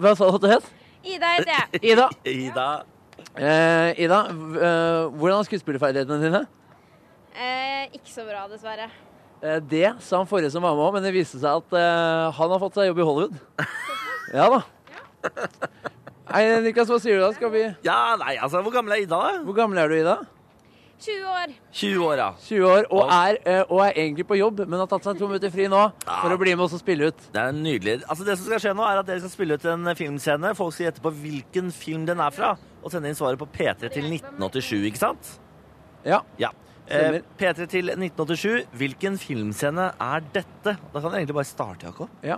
[SPEAKER 2] Hva sa du at du het?
[SPEAKER 5] Ida heter jeg.
[SPEAKER 2] Ida.
[SPEAKER 3] Ida.
[SPEAKER 2] Eh, Ida, v- eh, hvordan er skuespillerferdighetene dine?
[SPEAKER 5] Eh, ikke så bra, dessverre.
[SPEAKER 2] Eh, det sa han forrige som var med òg, men det viste seg at eh, han har fått seg jobb i Hollywood. Ja da. Hei, Niklas, hva sier du da? Skal vi...
[SPEAKER 3] Ja, nei, altså, hvor gammel er Ida, da?
[SPEAKER 2] Hvor gammel er du, Ida?
[SPEAKER 5] 20 år.
[SPEAKER 3] 20 år, ja.
[SPEAKER 2] 20 år, og er, eh, og er egentlig på jobb, men har tatt seg to minutter fri nå for å bli med oss og spille ut.
[SPEAKER 3] Det er nydelig. Altså, det som skal skje nå, er at dere skal spille ut en filmscene. Folk skal gjette på hvilken film den er fra, og sende inn svaret på P3 til 1987, ikke sant?
[SPEAKER 2] Ja.
[SPEAKER 3] Ja. Eh,
[SPEAKER 2] Stemmer.
[SPEAKER 3] P3 til 1987. Hvilken filmscene er dette? Da kan dere egentlig bare starte, Jakob.
[SPEAKER 2] ja.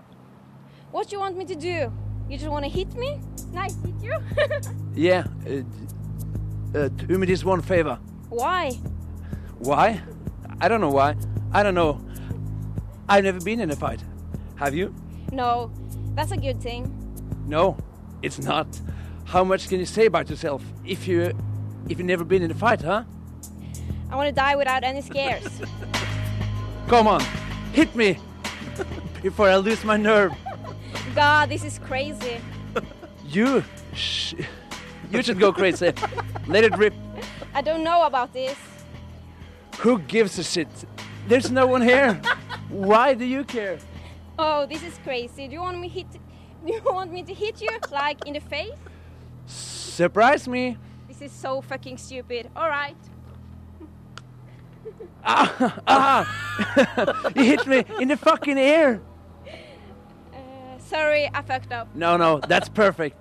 [SPEAKER 5] What you want me to do? You just wanna hit me? Nei, hit you?
[SPEAKER 2] Yeah. Uh, uh, do me this one favor.
[SPEAKER 5] Why?
[SPEAKER 2] Why? I don't know why. I don't know. I've never been in a fight. Have you?
[SPEAKER 5] No, that's a good thing.
[SPEAKER 2] No, it's not. How much can you say about yourself if you if you've never been in a fight, huh?
[SPEAKER 5] I wanna die without any scares.
[SPEAKER 2] Come on, hit me before I lose my nerve.
[SPEAKER 5] God, this is crazy.
[SPEAKER 2] You, sh- you should go crazy. Let it rip.
[SPEAKER 5] I don't know about this.
[SPEAKER 2] Who gives a shit? There's no one here. Why do you care?
[SPEAKER 5] Oh, this is crazy. Do you want me hit? Do you want me to hit you like in the face?
[SPEAKER 2] Surprise me.
[SPEAKER 5] This is so fucking stupid. All right.
[SPEAKER 2] You hit me in the fucking ear.
[SPEAKER 5] Uh, sorry, I fucked up.
[SPEAKER 2] No, no, that's perfect.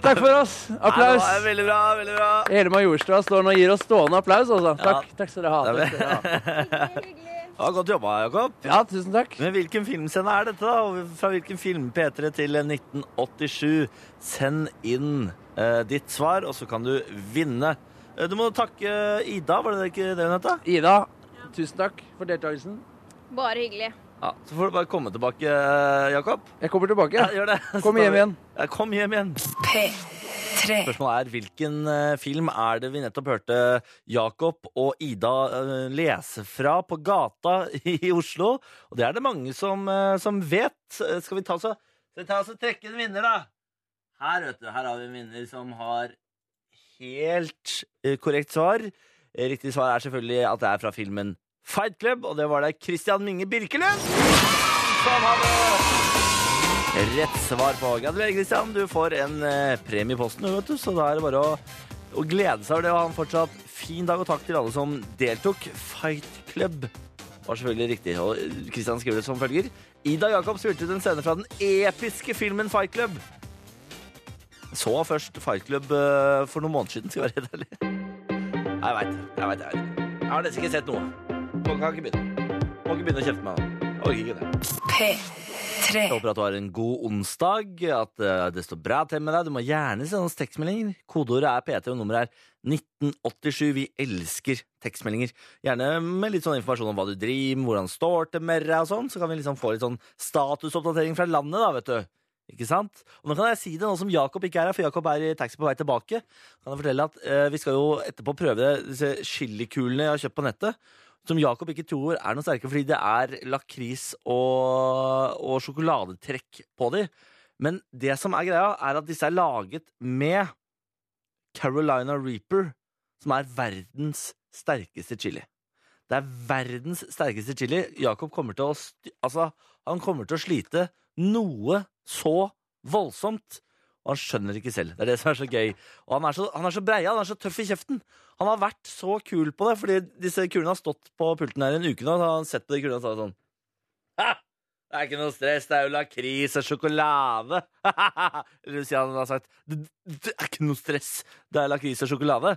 [SPEAKER 2] Takk for oss. Applaus.
[SPEAKER 3] Ja, det var veldig bra, veldig bra.
[SPEAKER 2] Hele Majorstua står nå og gir oss stående applaus. Altså. Takk, takk skal dere ha.
[SPEAKER 3] Det er
[SPEAKER 2] Takk skal dere ha.
[SPEAKER 5] Hyggelig.
[SPEAKER 3] Ja, godt jobba, Jakob.
[SPEAKER 2] Ja, tusen takk.
[SPEAKER 3] Men hvilken filmscene er dette, da? Og Fra hvilken film, P3 til 1987? Send inn eh, ditt svar, og så kan du vinne. Eh, Du må takke Ida, var det ikke det hun het? da?
[SPEAKER 2] Ida, tusen takk for deltakelsen.
[SPEAKER 5] Bare hyggelig.
[SPEAKER 3] Ja, Så får du bare komme tilbake, eh, Jakob.
[SPEAKER 2] Jeg kommer tilbake.
[SPEAKER 3] Ja, gjør det.
[SPEAKER 2] Kom hjem igjen.
[SPEAKER 3] Ja, kom hjem igjen.
[SPEAKER 4] P3.
[SPEAKER 3] Spørsmålet er hvilken eh, film er det vi nettopp hørte Jakob og Ida eh, lese fra på gata i Oslo? Og det er det mange som, eh, som vet. Eh, Skal vi ta så, skal vi ta så trekke en vinner, da? Her, vet du, her har vi en vinner som har helt eh, korrekt svar. Eh, Riktig svar er selvfølgelig at det er fra filmen Fight Club, og det var det Christian Minge Birkelund som hadde rett svar på. Gratulerer, Christian. Du får en eh, premie i posten, du, vet du, så da er det bare å, å glede seg over det. Og ha en fortsatt fin dag, og takk til alle som deltok. Fight Club var selvfølgelig riktig. Og eh, Christian skriver det som følger. Ida Jakob spilte ut en scene fra den episke filmen Fight Club. Så først Fight Club eh, for noen måneder siden, skal jeg være helt ærlig. Jeg veit, jeg veit. Jeg, vet. jeg har nesten ikke sett noe. Kan ikke begynne. Må ikke begynne å kjefte meg nå. Orker ikke det. Jeg
[SPEAKER 4] P3.
[SPEAKER 3] håper at du har en god onsdag, at eh, det står bra til med deg. Du må gjerne sende oss tekstmeldinger. Kodeordet er PT, og nummeret er 1987. Vi elsker tekstmeldinger. Gjerne med litt sånn informasjon om hva du driver med, hvordan det står til med deg og sånn. Så kan vi liksom få litt sånn statusoppdatering fra landet, da, vet du. Ikke sant? Og nå kan jeg si det nå som Jakob ikke er her, for Jakob er i taxi på vei tilbake. Kan jeg fortelle at eh, Vi skal jo etterpå prøve disse chilikulene jeg har kjøpt på nettet. Som Jakob ikke tror er noe sterke, fordi det er lakris og, og sjokoladetrekk på de. Men det som er greia, er at disse er laget med Carolina Reaper, som er verdens sterkeste chili. Det er verdens sterkeste chili. Jakob kommer til å st Altså, han kommer til å slite noe så voldsomt. Og han skjønner det ikke selv. Det er det som er så gøy. Og han er så, han er så breia, han er så tøff i kjeften. Han har vært så kul på det, fordi disse kulene har stått på pulten her en uke nå. Så har han sett på de kulene og sagt sånn «Ha! Det er ikke noe stress, det er jo lakris og sjokolade. Eller hvis han har sagt det, det er ikke noe stress, det er lakris og sjokolade.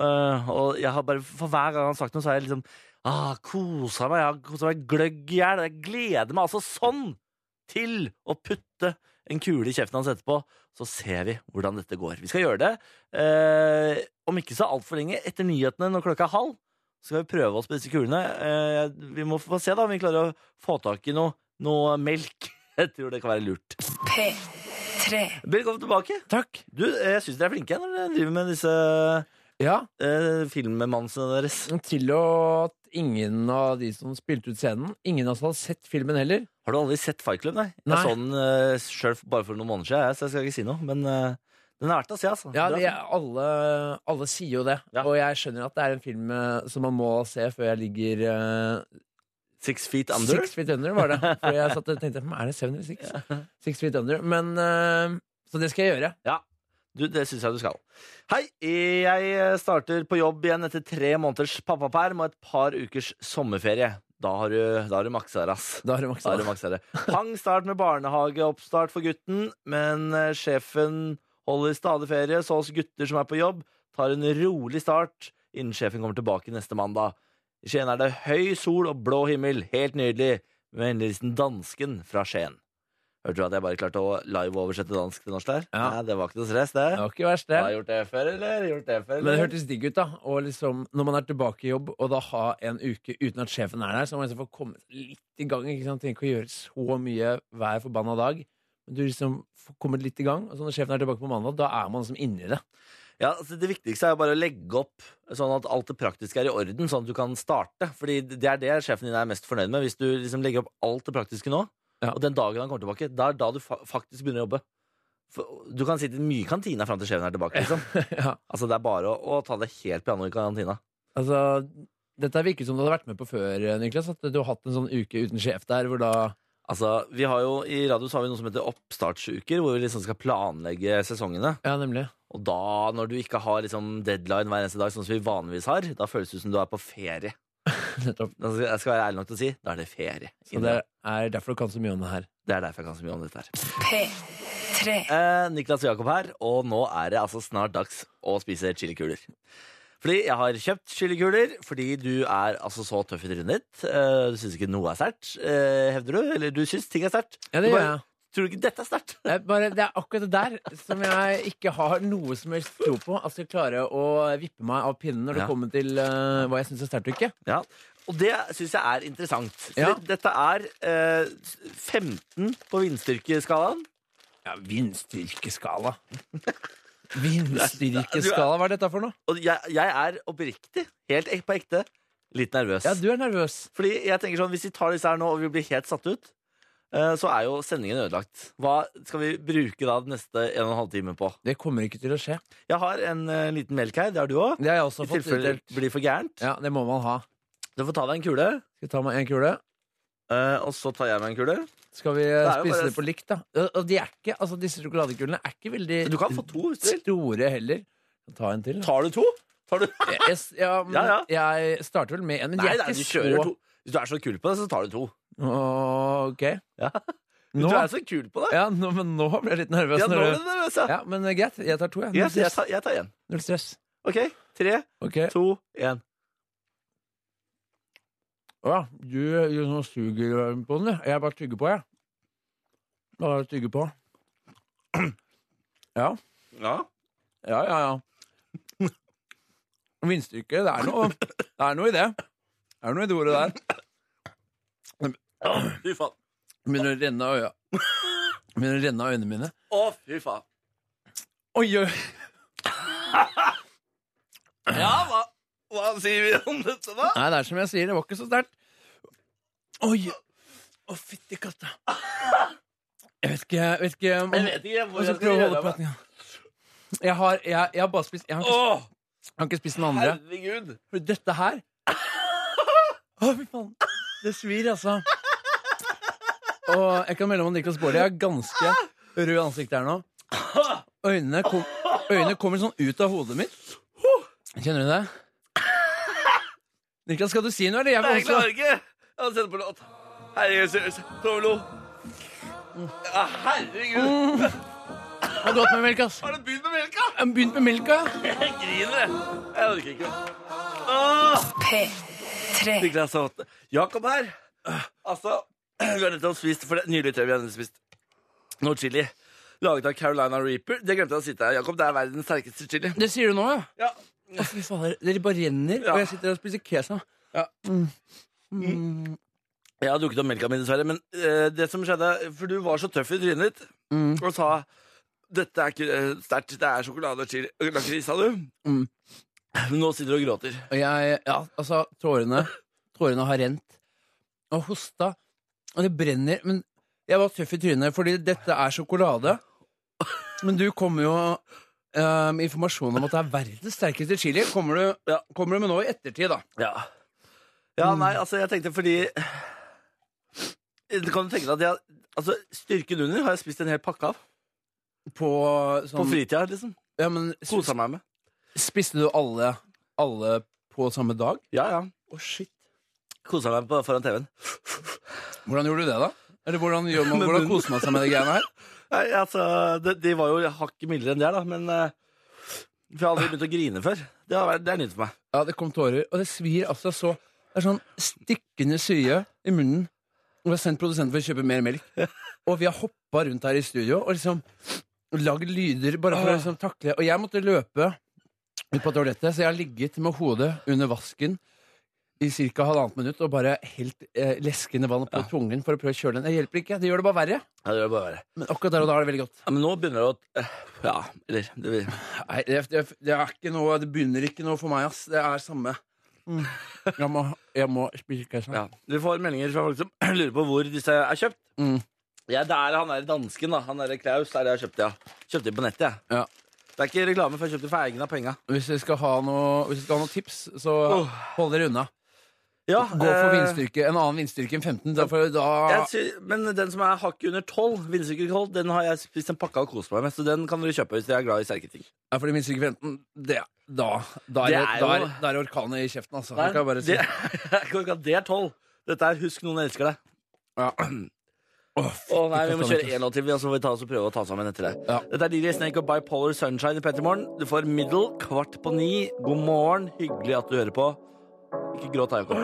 [SPEAKER 3] Eh, og jeg har bare, for hver gang han har sagt noe, så har jeg liksom ah, kosa meg. Jeg har kosa meg gløgg i hjel. Jeg gleder meg altså sånn til å putte en kule i kjeften hans etterpå. Så ser vi hvordan dette går. Vi skal gjøre det eh, om ikke så altfor lenge. Etter nyhetene når klokka er halv, så skal vi prøve oss på disse kulene. Eh, vi må få se da om vi klarer å få tak i noe noe melk. Jeg tror det kan være lurt.
[SPEAKER 4] P3.
[SPEAKER 3] Velkommen tilbake.
[SPEAKER 2] Takk.
[SPEAKER 3] Du, jeg syns dere er flinke når dere driver med disse
[SPEAKER 2] Ja,
[SPEAKER 3] eh, filmmannsene deres.
[SPEAKER 2] til og at ingen av de som spilte ut scenen, ingen av oss hadde sett filmen heller.
[SPEAKER 3] Har du aldri sett Fight Club? Nei.
[SPEAKER 2] Nei.
[SPEAKER 3] Jeg så den eh, sjøl bare for noen måneder siden, jeg, så jeg skal ikke si noe. Men eh, den er verdt å se, altså.
[SPEAKER 2] Ja,
[SPEAKER 3] Det
[SPEAKER 2] de,
[SPEAKER 3] er-
[SPEAKER 2] alle, alle sier jo det.
[SPEAKER 3] Ja.
[SPEAKER 2] Og jeg skjønner at det er en film eh, som man må se før jeg ligger eh,
[SPEAKER 3] Six Feet Under.
[SPEAKER 2] Six feet under, var det. For jeg satt og tenkte "Hm, er det seven eller six? Six feet under. Men eh, Så det skal jeg gjøre.
[SPEAKER 3] Du, det syns jeg du skal. Hei, jeg eh, starter på jobb igjen etter tre måneders pappaperm og et par ukers sommerferie. Da har du, da har du maksa det, ass.
[SPEAKER 2] Da har du
[SPEAKER 3] Da
[SPEAKER 2] maksa.
[SPEAKER 3] er det maks herre. Pang start med barnehageoppstart for gutten, men eh, sjefen holder stadig ferie, så oss gutter som er på jobb, tar en rolig start innen sjefen kommer tilbake neste mandag. I Skien er det høy sol og blå himmel, helt nydelig, med hendelsen dansken fra Skien. Hørte du at jeg bare klarte å live-oversette dansk til norsk der?
[SPEAKER 2] Ja.
[SPEAKER 3] Nei, det var ikke noe stress, det.
[SPEAKER 2] Det var ikke verst, det.
[SPEAKER 3] Har jeg gjort det før, eller? Gjort det før,
[SPEAKER 2] Men det
[SPEAKER 3] eller?
[SPEAKER 2] hørtes digg ut, da. Og liksom, når man er tilbake i jobb, og da ha en uke uten at sjefen er der, så må man liksom få komme litt i gang. Ikke sant? Trenger ikke å gjøre så mye hver forbanna dag. Men du liksom får kommet litt i gang, og så når sjefen er tilbake på mandag, da er man liksom inni det.
[SPEAKER 3] Ja, altså Det viktigste er jo bare å legge opp sånn at alt det praktiske er i orden, sånn at du kan starte. Fordi det er det sjefen din er mest fornøyd med. Hvis du liksom legger opp alt det praktiske nå,
[SPEAKER 2] Ja.
[SPEAKER 3] og den dagen han kommer tilbake, da er da du fa faktisk begynner å jobbe. For, du kan sitte mye i kantina fram til sjefen er tilbake. liksom.
[SPEAKER 2] ja.
[SPEAKER 3] Altså Det er bare å, å ta det helt piano i kantina.
[SPEAKER 2] Altså, dette virker som du hadde vært med på før, Niklas. At du har hatt en sånn uke uten sjef der, hvor da
[SPEAKER 3] Altså, vi har jo, I radio så har vi noe som heter oppstartsuker, hvor vi liksom skal planlegge sesongene.
[SPEAKER 2] Ja, nemlig.
[SPEAKER 3] Og da, når du ikke har liksom deadline hver eneste dag, sånn som vi vanligvis har, da føles det ut som du er på ferie.
[SPEAKER 2] Nettopp.
[SPEAKER 3] Da skal- Altså, Jeg skal være ærlig nok til å si da er det ferie.
[SPEAKER 2] Så det er derfor du kan så mye om det her.
[SPEAKER 3] Det er derfor jeg kan så mye om dette her.
[SPEAKER 4] P3.
[SPEAKER 3] Eh, Niklas og Jakob her, og nå er det altså snart dags å spise chilikuler. Fordi jeg har kjøpt chilikuler, fordi du er altså så tøff i trynet ditt. Eh, du syns ikke noe er sterkt, eh, hevder du? Eller du syns ting er sterkt?
[SPEAKER 2] Ja,
[SPEAKER 3] Du
[SPEAKER 2] det gjør
[SPEAKER 3] bare,
[SPEAKER 2] jeg.
[SPEAKER 3] Tror du ikke dette er sterkt?
[SPEAKER 2] Det er, bare, det er akkurat det der som jeg ikke har noe som helst tro på. At jeg klarer å vippe meg av pinnen når det
[SPEAKER 3] Ja.
[SPEAKER 2] kommer til eh, hva jeg syns er sterkt og ikke.
[SPEAKER 3] Ja. Og det syns jeg er interessant. Fordi
[SPEAKER 2] Ja.
[SPEAKER 3] Dette er eh, 15 på vindstyrkeskalaen.
[SPEAKER 2] Ja, Vindstyrkeskala. Vindstyrkeskala, hva er dette for noe?
[SPEAKER 3] Og jeg, jeg er oppriktig, helt ek- på ekte, litt nervøs.
[SPEAKER 2] Ja, du er nervøs.
[SPEAKER 3] Fordi jeg tenker sånn, Hvis vi tar disse her nå og vi blir helt satt ut, eh, så er jo sendingen ødelagt. Hva skal vi bruke da den neste en og en halv time på?
[SPEAKER 2] Det kommer ikke til å skje.
[SPEAKER 3] Jeg har en eh, liten melk her. Det har du òg.
[SPEAKER 2] Det har jeg også
[SPEAKER 3] I
[SPEAKER 2] fått
[SPEAKER 3] tilfelle
[SPEAKER 2] utdelt.
[SPEAKER 3] det blir for gærent.
[SPEAKER 2] Ja, det må man ha.
[SPEAKER 3] Du får ta deg en kule,
[SPEAKER 2] Skal vi ta meg en kule?
[SPEAKER 3] eh, og så tar jeg meg en kule.
[SPEAKER 2] Skal vi
[SPEAKER 3] jo
[SPEAKER 2] spise
[SPEAKER 3] bare-
[SPEAKER 2] det på likt, da? Og- Og de er ikke, altså Disse sjokoladekulene er ikke veldig
[SPEAKER 3] Du kan få to hvis du vil.
[SPEAKER 2] store heller. Ta en til. da.
[SPEAKER 3] Tar du to? Tar du...
[SPEAKER 2] Jeg, jeg- ja, men
[SPEAKER 3] Ja,
[SPEAKER 2] jeg starter vel med en, men de
[SPEAKER 3] Nei,
[SPEAKER 2] er
[SPEAKER 3] nei,
[SPEAKER 2] ikke
[SPEAKER 3] du
[SPEAKER 2] så
[SPEAKER 3] kjører to. Hvis du er så kul på det, så tar du to.
[SPEAKER 2] Åh, Ok.
[SPEAKER 3] Ja.
[SPEAKER 2] Nå, sånn
[SPEAKER 3] Du er så kul på det.
[SPEAKER 2] ja, nå, men nå ble jeg litt nervøs.
[SPEAKER 3] Ja, nå
[SPEAKER 2] når
[SPEAKER 3] er
[SPEAKER 2] du-
[SPEAKER 3] du nervøs, ja.
[SPEAKER 2] ja, men eh, greit, jeg tar to. Jeg. Null,
[SPEAKER 3] Yes, jeg
[SPEAKER 2] stress.
[SPEAKER 3] tar, jeg tar en.
[SPEAKER 2] Null stress.
[SPEAKER 3] OK. Tre,
[SPEAKER 2] Ok.
[SPEAKER 3] to, én.
[SPEAKER 2] Å ja, du gjør noe suger eh, på den, du. Jeg bare tygger på, jeg. Bare tygger på. Ja,
[SPEAKER 3] Ja.
[SPEAKER 2] ja, ja. ja. Vindstyrke, det er noe Det er noe i det. Det er noe i det ordet der.
[SPEAKER 3] Å, fy faen.
[SPEAKER 2] Begynner å renne av øya. Begynner å renne av øynene mine.
[SPEAKER 3] Å, fy faen.
[SPEAKER 2] Oi, oi.
[SPEAKER 3] Ja, hva, hva sier vi om dette, da?
[SPEAKER 2] Nei, det er som jeg sier, det var ikke så sterkt. Oi! Å, fytti katta. Jeg vet ikke, jeg vet ikke om
[SPEAKER 3] Jeg vet ikke hvor
[SPEAKER 2] Hva
[SPEAKER 3] jeg
[SPEAKER 2] skal
[SPEAKER 3] skal
[SPEAKER 2] jeg
[SPEAKER 3] gjøre
[SPEAKER 2] holde
[SPEAKER 3] av meg.
[SPEAKER 2] praten, ja. Jeg har, jeg, jeg har bare spist Jeg har ikke,
[SPEAKER 3] Åh,
[SPEAKER 2] jeg har ikke spist den andre.
[SPEAKER 3] herregud.
[SPEAKER 2] For dette her Å, fy faen. Det svir, altså. Og jeg kan melde om at Niklas Baarli er ganske rød i ansiktet her nå. Øynene, kom, øynene kommer sånn ut av hodet mitt. Kjenner du det? Niklas, skal du si noe, eller? Jeg
[SPEAKER 3] Nei,
[SPEAKER 2] får
[SPEAKER 3] jeg
[SPEAKER 2] også
[SPEAKER 3] klarer ikke. Jeg har sett på låt. Herregud, seriøst. Tomlo. Ja, herregud.
[SPEAKER 2] Det er godt med melk, ass.
[SPEAKER 3] Har du begynt med melka?
[SPEAKER 2] Jeg har begynt med melka. ja.
[SPEAKER 3] Jeg griner, jeg. Jeg orker ikke. Åh!
[SPEAKER 4] P3.
[SPEAKER 3] Fikk deg så vått. Jakob her. Altså, vi har nettopp spist for det nylig vi har nettopp spist noe chili. Laget av Carolina Reaper. Det glemte jeg å si til deg, Jakob. Det er verdens sterkeste chili.
[SPEAKER 2] Det sier du nå, ja.
[SPEAKER 3] Ja.
[SPEAKER 2] Å, fy fader. Dere bare renner,
[SPEAKER 3] Ja.
[SPEAKER 2] og jeg sitter her og spiser kesa.
[SPEAKER 3] Jeg har drukket opp melka mi, dessverre. Men eh, det som skjedde For du var så tøff i trynet ditt og sa dette er ikke eh, sterkt, det er sjokolade og chili. Lakris, sa du.
[SPEAKER 2] Mm.
[SPEAKER 3] Nå sitter du og gråter.
[SPEAKER 2] Og jeg Ja, altså, tårene Tårene har rent. Og hosta. Og det brenner. Men jeg var tøff i trynet, fordi dette er sjokolade. Men du kommer jo eh, med informasjon om at det er verdens sterkeste chili. Kommer du,
[SPEAKER 3] Ja.
[SPEAKER 2] kommer du med nå i ettertid, da?
[SPEAKER 3] Ja. Ja, nei, altså, jeg tenkte fordi Kan du tenke deg at jeg Altså, Styrken under har jeg spist en hel pakke av.
[SPEAKER 2] På sånn
[SPEAKER 3] På fritida, liksom.
[SPEAKER 2] Ja, men
[SPEAKER 3] Kosa meg med.
[SPEAKER 2] Spiste du alle, alle på samme dag?
[SPEAKER 3] Ja, ja.
[SPEAKER 2] Å, shit.
[SPEAKER 3] Kosa meg på, foran TV-en.
[SPEAKER 2] Hvordan gjorde du det, da? Eller hvordan, gjør man,
[SPEAKER 3] Med
[SPEAKER 2] hvordan
[SPEAKER 3] munnen.
[SPEAKER 2] koser man seg med de greiene her?
[SPEAKER 3] Nei, altså, de, de var jo hakket mildere enn det, da, men eh, For jeg har aldri begynt å grine før. Det, har vært, det er nytt for meg.
[SPEAKER 2] Ja, det kom tårer, og det svir altså så Det er sånn stikkende sye i munnen. Og vi har sendt produsenten for å kjøpe mer melk. Og vi har hoppa rundt her i studio og liksom lagd lyder bare for å liksom takle Og jeg måtte løpe ut på toalettet, så jeg har ligget med hodet under vasken i ca. halvannet minutt og bare helt eh, leskende vann på tungen for å prøve å kjøle den. Det hjelper ikke, det gjør det bare verre.
[SPEAKER 3] Ja, det gjør det bare verre.
[SPEAKER 2] Men akkurat der og da er det veldig godt.
[SPEAKER 3] Ja, men nå begynner det å eh, Ja, eller det, vil-
[SPEAKER 2] Nei, det, det, det er ikke noe Det begynner ikke noe for meg, ass. Det er samme. Jeg må, jeg må spise keiser.
[SPEAKER 3] ja. Vi får meldinger fra folk som lurer på hvor disse er kjøpt.
[SPEAKER 2] Mm.
[SPEAKER 3] Ja, det er han der dansken, da. Han der Klaus. Der jeg kjøpte, ja. Kjøpte de på nettet, jeg.
[SPEAKER 2] Ja.
[SPEAKER 3] Det er ikke reklame, for jeg kjøpte for egen av penga.
[SPEAKER 2] Hvis vi skal ha noe, hvis vi skal ha noen tips, så
[SPEAKER 3] Åh.
[SPEAKER 2] hold dere unna.
[SPEAKER 3] Ja,
[SPEAKER 2] Gå for
[SPEAKER 3] eh,
[SPEAKER 2] vindstyrke, en annen vindstyrke enn 15. Derfor, da,
[SPEAKER 3] jeg sy- men den som er hakket under 12, vindstyrke 12, den har jeg spist en pakke av og kost meg med. Så den kan dere kjøpe hvis dere er glad i sterke ting.
[SPEAKER 2] ja, fordi vindstyrke 15, det, da, da,
[SPEAKER 3] Det
[SPEAKER 2] er, det,
[SPEAKER 3] er
[SPEAKER 2] da,
[SPEAKER 3] jo-
[SPEAKER 2] er, da er det orkanet i kjeften, altså. Kan jeg bare si.
[SPEAKER 3] det, jeg kan ikke ha- det er 12. Dette er 'Husk noen elsker deg'.
[SPEAKER 2] Ja. Åh,
[SPEAKER 3] Å nei, Vi må
[SPEAKER 2] Ikke sant,
[SPEAKER 3] kjøre
[SPEAKER 2] ikke
[SPEAKER 3] en låt til, vi, og så får vi ta oss og prøve å ta oss sammen etter det.
[SPEAKER 2] Ja.
[SPEAKER 3] Dette er DJ Snake og Bipolar Sunshine i Pettermorgen. Du får middle kvart på ni. God morgen. Hyggelig at du hører på. Ikke gråt da, Jakob.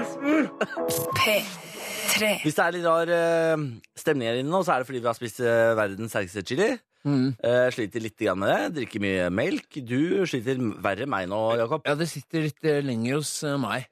[SPEAKER 4] P3.
[SPEAKER 3] Hvis det er litt rar eh, stemning her inne nå, så er det fordi vi har spist eh, verdens sterkeste chili.
[SPEAKER 2] Mm.
[SPEAKER 3] Eh, sliter litt grann med det. Drikker mye melk. Du sliter verre enn meg nå, Jakob.
[SPEAKER 2] Ja, det sitter litt eh, lenger hos eh, meg.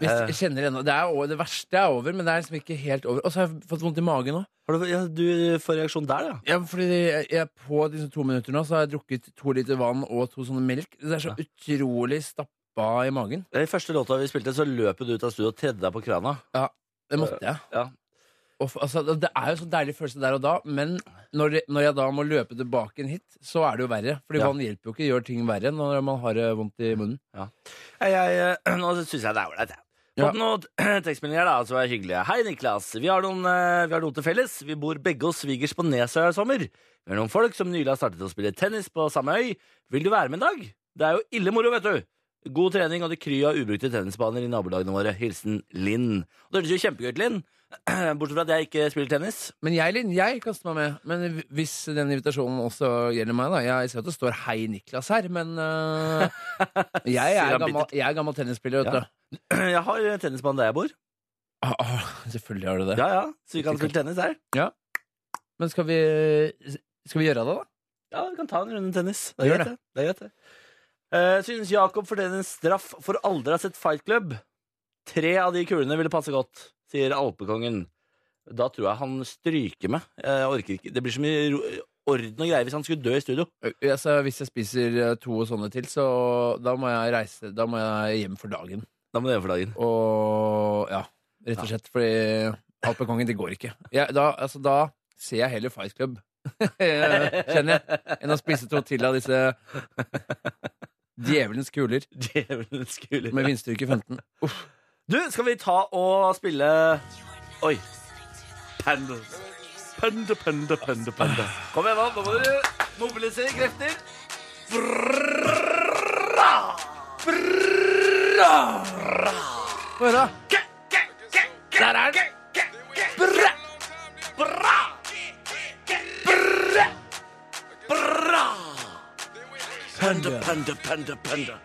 [SPEAKER 2] Hvis-
[SPEAKER 3] Eh.
[SPEAKER 2] Jeg kjenner ennå, det, er over, det verste er over, men det er liksom ikke helt over. Og så har jeg fått vondt i magen nå.
[SPEAKER 3] Har du, ja, du får reaksjon der, ja.
[SPEAKER 2] Ja, fordi jeg, jeg På disse to minutter nå Så har jeg drukket to liter vann og to sånne melk. Det er så utrolig stappa i magen.
[SPEAKER 3] I første låta vi spilte, så løp du ut av studio og tredde deg på krana.
[SPEAKER 2] Det måtte jeg.
[SPEAKER 3] Ja.
[SPEAKER 2] Og, f- altså, det det er jo sånn deilig følelse der og da, men når, det- når jeg da må løpe tilbake inn hit, så er det jo verre. Fordi
[SPEAKER 3] Ja.
[SPEAKER 2] vann hjelper jo ikke, gjør ting verre når man har det vondt i munnen.
[SPEAKER 3] Jeg, jeg, eh, nå syns jeg det er ålreit, jeg.
[SPEAKER 2] Ja.
[SPEAKER 3] Fått noen tekstmeldinger da, som er hyggelige. Hei, Niklas. Vi har, noen, eh, vi har noe til felles. Vi bor begge hos svigers på Nesøya i sommer. Vi er noen folk som nylig har startet å spille tennis på samme øy. Vil du være med en dag? Det er jo ille moro, vet du. God trening og det kry av ubrukte tennisbaner i nabolagene våre. Hilsen Linn. Og Det høres jo kjempegøy ut, Linn. Bortsett fra at jeg ikke spiller tennis.
[SPEAKER 2] Men jeg, Linn, jeg kaster meg med. Men hv- hvis den invitasjonen også gjelder meg, da Jeg ser at det står 'Hei, Niklas' her, men øh, jeg,
[SPEAKER 3] Sier
[SPEAKER 2] er
[SPEAKER 3] han
[SPEAKER 2] gammel, jeg er gammel tennisspiller, vet
[SPEAKER 3] Ja.
[SPEAKER 2] du.
[SPEAKER 3] Jeg har tennisbane der jeg bor.
[SPEAKER 2] Ah, ah, selvfølgelig har du det.
[SPEAKER 3] Ja, ja. Så vi kan spille tennis der.
[SPEAKER 2] Men skal vi, skal vi gjøre det, da?
[SPEAKER 3] Ja, vi kan ta en runde tennis. Det
[SPEAKER 2] Gjør
[SPEAKER 3] er greit, det. det, er greit, det. Eh, synes Jakob fortjener en straff for aldri å ha sett Fight Club. Tre av de kulene ville passe godt, sier alpekongen. Da tror jeg han stryker meg. Jeg orker ikke. Det blir så mye ro- orden og greier hvis han skulle dø i studio.
[SPEAKER 2] Ja, så hvis jeg spiser eh, to sånne til, så da må jeg reise Da må jeg hjem for dagen.
[SPEAKER 3] Da må du gjøre for dagen.
[SPEAKER 2] Og ja, rett og slett. Fordi Alpekongen, det går ikke. Jeg, da, altså, da ser jeg heller Fight Club, kjenner jeg, enn å spise to til av disse djevelens kuler
[SPEAKER 3] Djevelens kuler.
[SPEAKER 2] med vindstyrke 15.
[SPEAKER 3] Du, skal vi ta og spille Oi. Panda. Panda, panda, panda, panda. Kom igjen, nå. Nå må du mobilisere krefter. Brrra! Brrra!
[SPEAKER 2] Få høre!
[SPEAKER 3] Der er den!
[SPEAKER 6] Panda, panda, panda, panda.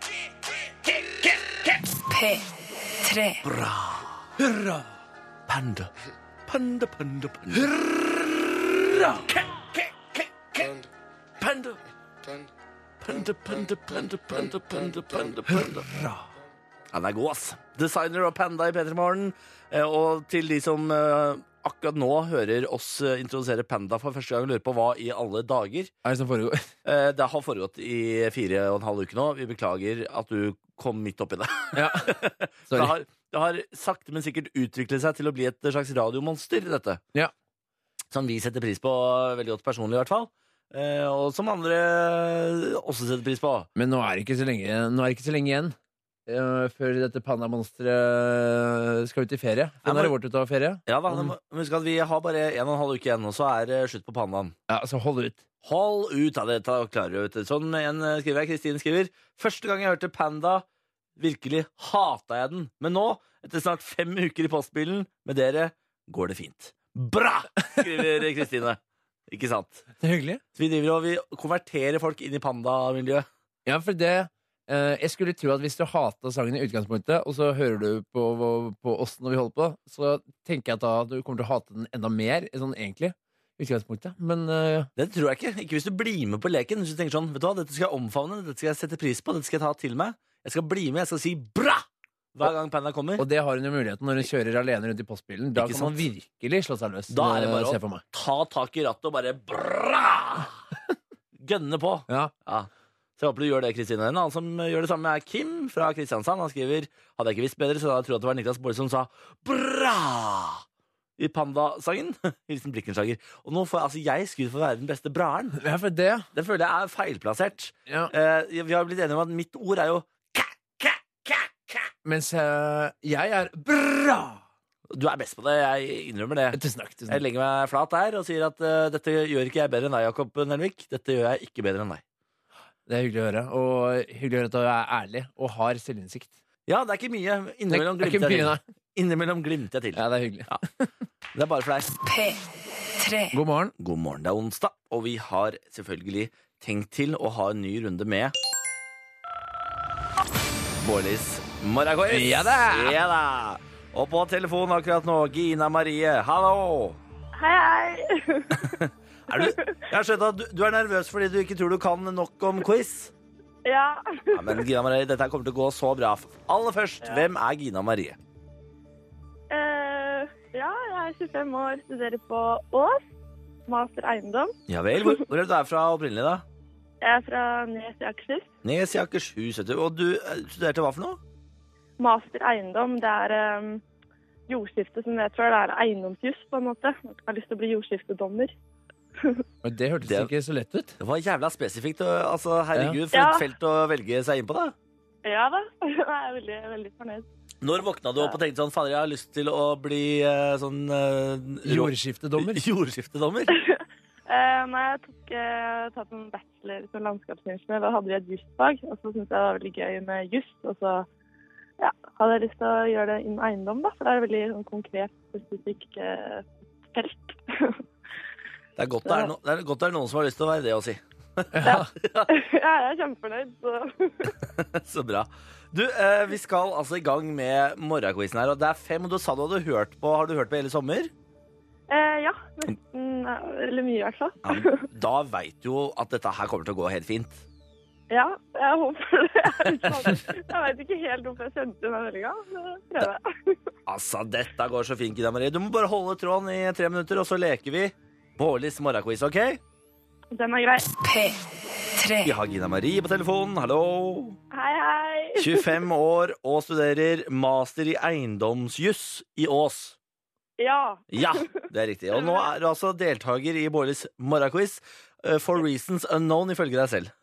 [SPEAKER 4] P3.
[SPEAKER 6] Hurra! Panda. Panda, panda, panda. Ke, ke, ke, ke. Panda. Panda, panda, panda, panda, panda, panda, panda.
[SPEAKER 3] Han er god, ass. Designer og panda i P3 Morgen. Eh, Og til de som eh, akkurat nå hører oss eh, introdusere panda for første gang, lurer på hva i alle dager
[SPEAKER 2] Hva er det som foregår?
[SPEAKER 3] Eh, Det har foregått i fire og en halv uke nå. Vi beklager at du kom midt oppi det.
[SPEAKER 2] Ja.
[SPEAKER 3] Det
[SPEAKER 2] Sorry.
[SPEAKER 3] har, det har sakte, men sikkert utviklet seg til å bli et slags radiomonster, dette.
[SPEAKER 2] Ja.
[SPEAKER 3] Som vi setter pris på veldig godt personlig, i hvert fall. Eh, Og som andre eh, også setter pris på.
[SPEAKER 2] Men nå er det ikke så lenge, nå er det ikke så lenge igjen. eh, før dette pandamonsteret skal ut i ferie. For
[SPEAKER 3] men-
[SPEAKER 2] Nå er det vårt ut av ferie.
[SPEAKER 3] Ja da, men Husk at vi har bare en og en halv uke igjen, og så er det slutt på pandaen.
[SPEAKER 2] Ja, så hold ut.
[SPEAKER 3] altså, Hold ut av dette og klarer det. vet du. Sånn en eh, skriver jeg, Kristin skriver. Første gang jeg hørte Panda, virkelig hata jeg den. Men nå, etter snart fem uker i postbilen med dere, går det fint. Bra! skriver Kristine. Ikke sant?
[SPEAKER 2] Det er hyggelig.
[SPEAKER 3] Så vi driver og vi konverterer folk inn i pandamiljøet.
[SPEAKER 2] Ja, for det eh, Jeg skulle tro at hvis du hata sangen i utgangspunktet, og så hører du på, på oss når vi holder på, så tenker jeg at da du kommer til å hate den enda mer, sånn egentlig. i Utgangspunktet. Men eh,
[SPEAKER 3] Det tror jeg ikke. Ikke hvis du blir med på leken. Hvis du tenker sånn, vet du hva, dette skal jeg omfavne, dette skal jeg sette pris på, dette skal jeg ta til meg. Jeg skal bli med, jeg skal si bra! Hver gang Panda kommer.
[SPEAKER 2] Og det har hun jo muligheten når hun kjører alene rundt i postbilen. Da
[SPEAKER 3] Ikke
[SPEAKER 2] kan man
[SPEAKER 3] sant?
[SPEAKER 2] virkelig slå seg løs.
[SPEAKER 3] Da er det bare
[SPEAKER 2] eh,
[SPEAKER 3] å-
[SPEAKER 2] se for meg.
[SPEAKER 3] ta tak i rattet og bare bra! Gønne på.
[SPEAKER 2] Ja.
[SPEAKER 3] Ja. Så jeg håper du gjør det, Kristine. En annen som gjør det samme, er Kim fra Kristiansand. Han skriver Hadde jeg ikke visst bedre, så hadde jeg trodd at det var Niklas Baarli som sa bra! I Panda-sangen. Hilsen Blikkenslager. Og nå får jeg altså jeg skryt for å være den beste braeren.
[SPEAKER 2] ja, for det
[SPEAKER 3] Det føler jeg er feilplassert.
[SPEAKER 2] ja.
[SPEAKER 3] Eh, vi har blitt enige om at mitt ord er jo ka, ka, ka, ka.
[SPEAKER 2] Mens eh, jeg er bra!
[SPEAKER 3] Du er best på det. Jeg innrømmer det.
[SPEAKER 2] Tusen takk. Tusen
[SPEAKER 3] Jeg
[SPEAKER 2] takk.
[SPEAKER 3] legger meg flat der og sier at eh, dette gjør ikke jeg bedre enn deg, Jakob Nelvik. Dette gjør jeg ikke bedre enn deg.
[SPEAKER 2] Det er hyggelig å høre. Og hyggelig å høre at du er ærlig og har selvinnsikt.
[SPEAKER 3] Ja, det er ikke mye.
[SPEAKER 2] Det
[SPEAKER 3] Innimellom
[SPEAKER 2] er det er
[SPEAKER 3] glimter
[SPEAKER 2] ikke
[SPEAKER 3] jeg
[SPEAKER 2] mye,
[SPEAKER 3] til.
[SPEAKER 2] nei.
[SPEAKER 3] Innimellom glimter jeg til.
[SPEAKER 2] Ja, det er hyggelig.
[SPEAKER 3] Det er bare for deg.
[SPEAKER 4] P3.
[SPEAKER 2] God morgen.
[SPEAKER 3] God morgen, det er onsdag, og vi har selvfølgelig tenkt til å ha en ny runde med Bårlis morgenquiz.
[SPEAKER 2] Ja da!
[SPEAKER 3] Ja da! Og på telefonen akkurat nå, Gina Marie. Hallo!
[SPEAKER 7] Hei, hei.
[SPEAKER 3] Er du, jeg har skjønt at du, du er nervøs fordi du ikke tror du kan nok om quiz.
[SPEAKER 7] Ja.
[SPEAKER 3] Ja, men Gina Marie, dette her kommer til å gå så bra. Aller først, hvem er Gina Marie?
[SPEAKER 7] Eh, ja, jeg er 25 år, studerer på Ås. Master eiendom.
[SPEAKER 3] Ja vel, hvor, hvor er det du er fra opprinnelig, da?
[SPEAKER 7] Jeg er fra Nes i Akershus.
[SPEAKER 3] Nes i Akershus, vet du. Og du eh, studerte hva for noe?
[SPEAKER 7] Master eiendom, det er eh, jordskifte som jeg tror det er eiendomsjus på en måte. Jeg har lyst til å bli jordskiftedommer.
[SPEAKER 2] Men det hørtes
[SPEAKER 3] Det-
[SPEAKER 2] ikke så lett ut.
[SPEAKER 3] Det var jævla spesifikt. og, Altså, herregud, for
[SPEAKER 7] Ja.
[SPEAKER 3] et felt å velge seg inn på, da.
[SPEAKER 7] Ja da, jeg er veldig, veldig fornøyd.
[SPEAKER 3] Når våkna du opp og tenkte sånn Fader, jeg har lyst til å bli eh, sånn eh, rå-
[SPEAKER 2] Jordskiftedommer.
[SPEAKER 3] Jordskiftedommer?
[SPEAKER 7] Eh, nei, jeg tok eh, tatt en bachelor som landskapsingeniør. Da hadde vi et jusfag, og så syntes jeg det var veldig gøy med jus. Og så ja, hadde jeg lyst til å gjøre det innen eiendom, da, for det er et veldig sånn, konkret, spesifikt eh, felt.
[SPEAKER 3] Det er godt det er, no, det er godt det er noen som har lyst til å være det å si.
[SPEAKER 7] ja, jeg er kjempefornøyd, så
[SPEAKER 3] Så bra. Du, eh, vi skal altså i gang med morgenquizen her, og det er fem, og du sa du hadde hørt på Har du hørt på hele sommer?
[SPEAKER 7] eh, ja. Nesten ja, Eller mye, i hvert fall.
[SPEAKER 3] Ja, men da veit du jo at dette her kommer til å gå helt fint.
[SPEAKER 7] Ja, jeg håper det. Jeg er litt sånn- Jeg veit ikke helt hvorfor jeg sendte den meldinga, men jeg prøver.
[SPEAKER 3] Altså, dette går så fint, Gina Marie. Du må bare holde tråden i tre minutter, og så leker vi Bårlis morgenquiz, OK?
[SPEAKER 7] Den er grei.
[SPEAKER 3] Vi
[SPEAKER 4] P3.
[SPEAKER 3] har Gina Marie på telefonen. Hallo!
[SPEAKER 7] Hei, hei.
[SPEAKER 3] 25 år og studerer master i eiendomsjuss i Ås.
[SPEAKER 7] Ja.
[SPEAKER 3] Ja, det er riktig. Og nå er du altså deltaker i Bårlis morgenquiz eh, for reasons unknown, ifølge deg selv.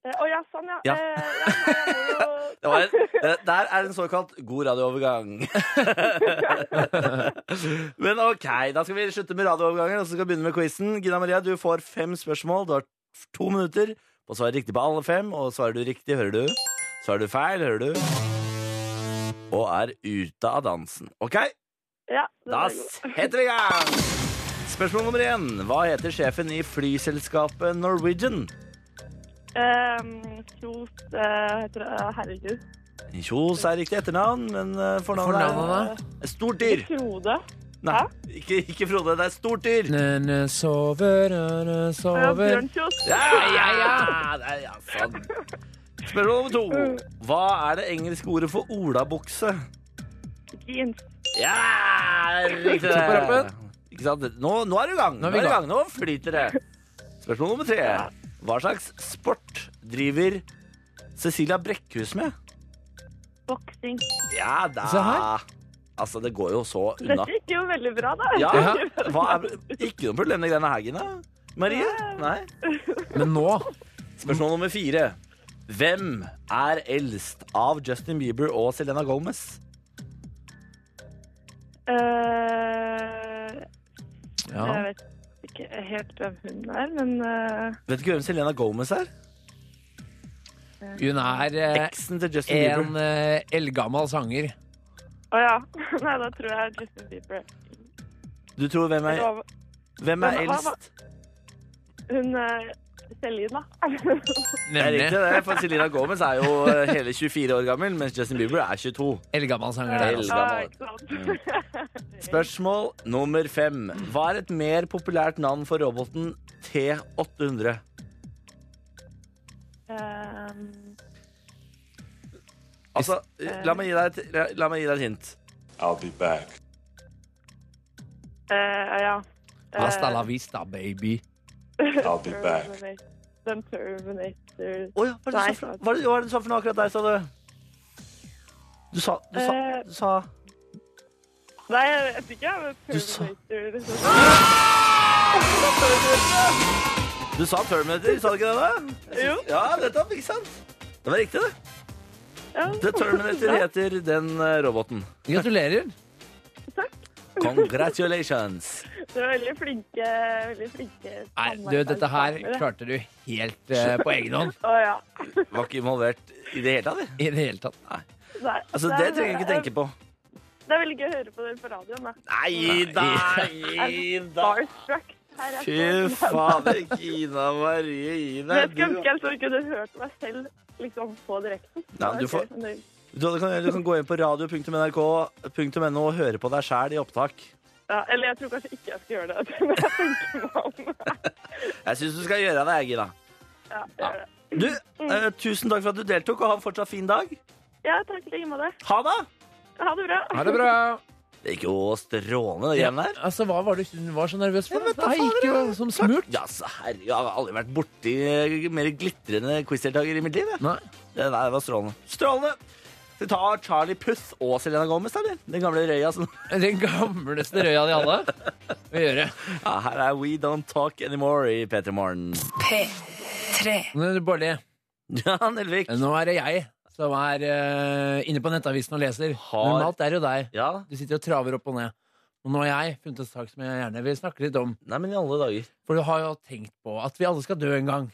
[SPEAKER 7] Eh, Å ja, sånn, ja.
[SPEAKER 3] Ja.
[SPEAKER 7] Eh, ja nei, jeg må jo
[SPEAKER 3] Det var en, det, der er en såkalt god radioovergang. Men ok, da skal vi slutte med radiooverganger og så skal vi begynne med quizen. Gina Maria, du får fem spørsmål. Du har to minutter på å svare riktig på alle fem. Og svarer du riktig, hører du. Svarer du feil, hører du. Og er ute av dansen. OK?
[SPEAKER 7] Ja, den
[SPEAKER 3] Da
[SPEAKER 7] er god.
[SPEAKER 3] setter vi i gang! Spørsmål nummer én. Hva heter sjefen i flyselskapet Norwegian?
[SPEAKER 7] Ehm, Kjos eh, heter det. eh, Herregud.
[SPEAKER 3] Kjos er riktig etternavn, men eh, fornavnet
[SPEAKER 2] Fornavnet,
[SPEAKER 3] er Et Stort dyr!
[SPEAKER 7] Frode.
[SPEAKER 3] Nei, ikke, ikke Frode, det er et stort dyr!
[SPEAKER 2] Nene sover, nene
[SPEAKER 7] Eh,
[SPEAKER 2] sover
[SPEAKER 7] Bjørn Kjos.
[SPEAKER 3] Ja, ja, ja! Det er, ja sånn. Spørsmål nummer to. Hva er det engelske ordet for olabukse?
[SPEAKER 7] Jeans.
[SPEAKER 3] Ja, riktig
[SPEAKER 2] Så på
[SPEAKER 3] det.
[SPEAKER 2] rappen.
[SPEAKER 3] Ikke sant? Nå, nå er du i gang. Nå
[SPEAKER 2] Nå er
[SPEAKER 3] er
[SPEAKER 2] vi
[SPEAKER 3] du i
[SPEAKER 2] i
[SPEAKER 3] gang. Nå flyter det. Spørsmål nummer tre. Hva slags sport driver Cecilia Brekkhus med?
[SPEAKER 7] Boksing.
[SPEAKER 3] Ja da.
[SPEAKER 2] Se her.
[SPEAKER 3] Altså, det går jo så unna.
[SPEAKER 7] Dette gikk jo veldig bra, da.
[SPEAKER 3] Ja, hva er, Ikke noe problem med greiene her, Gina. Marie? Nei.
[SPEAKER 2] Men nå
[SPEAKER 3] Spørsmål nummer fire. Hvem er eldst av Justin Bieber og Selena Gomez?
[SPEAKER 7] Eh, Jeg
[SPEAKER 2] ja.
[SPEAKER 7] vet ikke helt hvem hun er, men eh,
[SPEAKER 3] Vet du ikke hvem Selena Gomez er?
[SPEAKER 2] Hun er eh,
[SPEAKER 3] Eksen til Justin Bieber.
[SPEAKER 2] en eh, eldgammel sanger.
[SPEAKER 7] Å ja. Nei, da tror jeg Justin Bieber.
[SPEAKER 3] Du tror hvem er,
[SPEAKER 7] Eller hva-
[SPEAKER 3] hvem er
[SPEAKER 7] Hvem- hva- hva-
[SPEAKER 3] eldst?
[SPEAKER 7] Hun eh, Selin, da.
[SPEAKER 3] Det er riktig
[SPEAKER 2] Nemlig.
[SPEAKER 3] det, for Selena Gomez er jo eh, hele 24 år gammel, mens Justin Bieber er 22.
[SPEAKER 2] Eldgammel sanger der, altså.
[SPEAKER 7] Ja, ikke sant?
[SPEAKER 3] Spørsmål nummer fem. Hva er et mer populært navn for roboten T800?
[SPEAKER 7] Ehm,
[SPEAKER 3] Altså, eh, la meg gi deg et, la- la meg gi deg et hint.
[SPEAKER 6] I'll be back.
[SPEAKER 7] eh, ja. Eh,
[SPEAKER 2] Hasta la vista, baby.
[SPEAKER 6] I'll be back.
[SPEAKER 7] Terminator. Den Terminator
[SPEAKER 3] Å ja, hva er det du sa for, hva er det- hva er det du sa for noe akkurat der, sa du? Du sa, du sa,
[SPEAKER 7] Eh.
[SPEAKER 3] du sa
[SPEAKER 7] Nei, jeg vet ikke. men
[SPEAKER 3] Du sa-
[SPEAKER 7] Terminator liksom.
[SPEAKER 3] Du sa Terminator, sa du ikke det? da?
[SPEAKER 7] Jo.
[SPEAKER 3] Ja, nettopp, ikke sant? Det var riktig, det.
[SPEAKER 7] Ja.
[SPEAKER 3] The Terminator heter den eh, roboten.
[SPEAKER 2] Gratulerer.
[SPEAKER 3] Congratulations.
[SPEAKER 7] Du er veldig flinke. Veldig flinke
[SPEAKER 2] Nei, du, dette her klarte du helt eh, på egen hånd.
[SPEAKER 7] Å ja.
[SPEAKER 3] Var ikke involvert i det hele tatt, jeg.
[SPEAKER 2] I det hele tatt.
[SPEAKER 7] Nei,
[SPEAKER 3] Altså, det trenger jeg ikke tenke på.
[SPEAKER 7] Det er velgi gøy å høre på dere på radioen. da.
[SPEAKER 3] Nei da, gi deg.
[SPEAKER 7] Starstruck. Her er
[SPEAKER 3] Fy
[SPEAKER 7] jeg sånn.
[SPEAKER 3] fader, Gina Marie, gi
[SPEAKER 7] Men Jeg
[SPEAKER 3] deg.
[SPEAKER 7] skulle ønske
[SPEAKER 3] Du,
[SPEAKER 7] jeg så kunne hørt meg selv liksom på direkten.
[SPEAKER 3] Ja, du får- du, kan, du kan gå inn på radio.nrk.no og høre på deg sjæl i opptak.
[SPEAKER 7] Ja, eller jeg tror kanskje ikke jeg skal gjøre det. Men jeg tenker meg om.
[SPEAKER 3] Jeg syns du skal gjøre det, jeg, Gina.
[SPEAKER 7] Ja, jeg gjør det.
[SPEAKER 3] Du, eh, tusen takk for at du deltok, og ha en fortsatt fin dag.
[SPEAKER 7] ja takk i like måte.
[SPEAKER 3] Ha det!
[SPEAKER 7] Ha det bra.
[SPEAKER 2] Ha det bra.
[SPEAKER 3] Det gikk jo strålende det greiene der.
[SPEAKER 2] Altså, Hva var det hun var så nervøs for?
[SPEAKER 3] Jeg
[SPEAKER 2] Altså,
[SPEAKER 3] vet da
[SPEAKER 2] Det her gikk jo
[SPEAKER 3] fader,
[SPEAKER 2] som smurt.
[SPEAKER 3] Ja, så herre, jeg har aldri vært borti mer glitrende quizdeltaker i mitt liv. Jeg.
[SPEAKER 2] Nei.
[SPEAKER 3] Det der var strålende. Strålende! Vi tar Charlie Puth og Selena Gomez, eller? Den gamle røya som
[SPEAKER 2] Den gamleste røya de alle vil gjøre.
[SPEAKER 3] ja, Her er We Don't Talk Anymore i P3 Morgen.
[SPEAKER 4] P3.
[SPEAKER 2] Men, Bolle,
[SPEAKER 3] Ja, Nelvik.
[SPEAKER 2] nå er det jeg som er eh, inne på nettavisen og leser.
[SPEAKER 3] Har-
[SPEAKER 2] Normalt er det jo deg.
[SPEAKER 3] Ja,
[SPEAKER 2] Du sitter og traver opp og ned. Og nå har jeg funnet en sak som jeg gjerne vil snakke litt om.
[SPEAKER 3] nei, men i alle dager.
[SPEAKER 2] For du har jo tenkt på at vi alle skal dø en gang.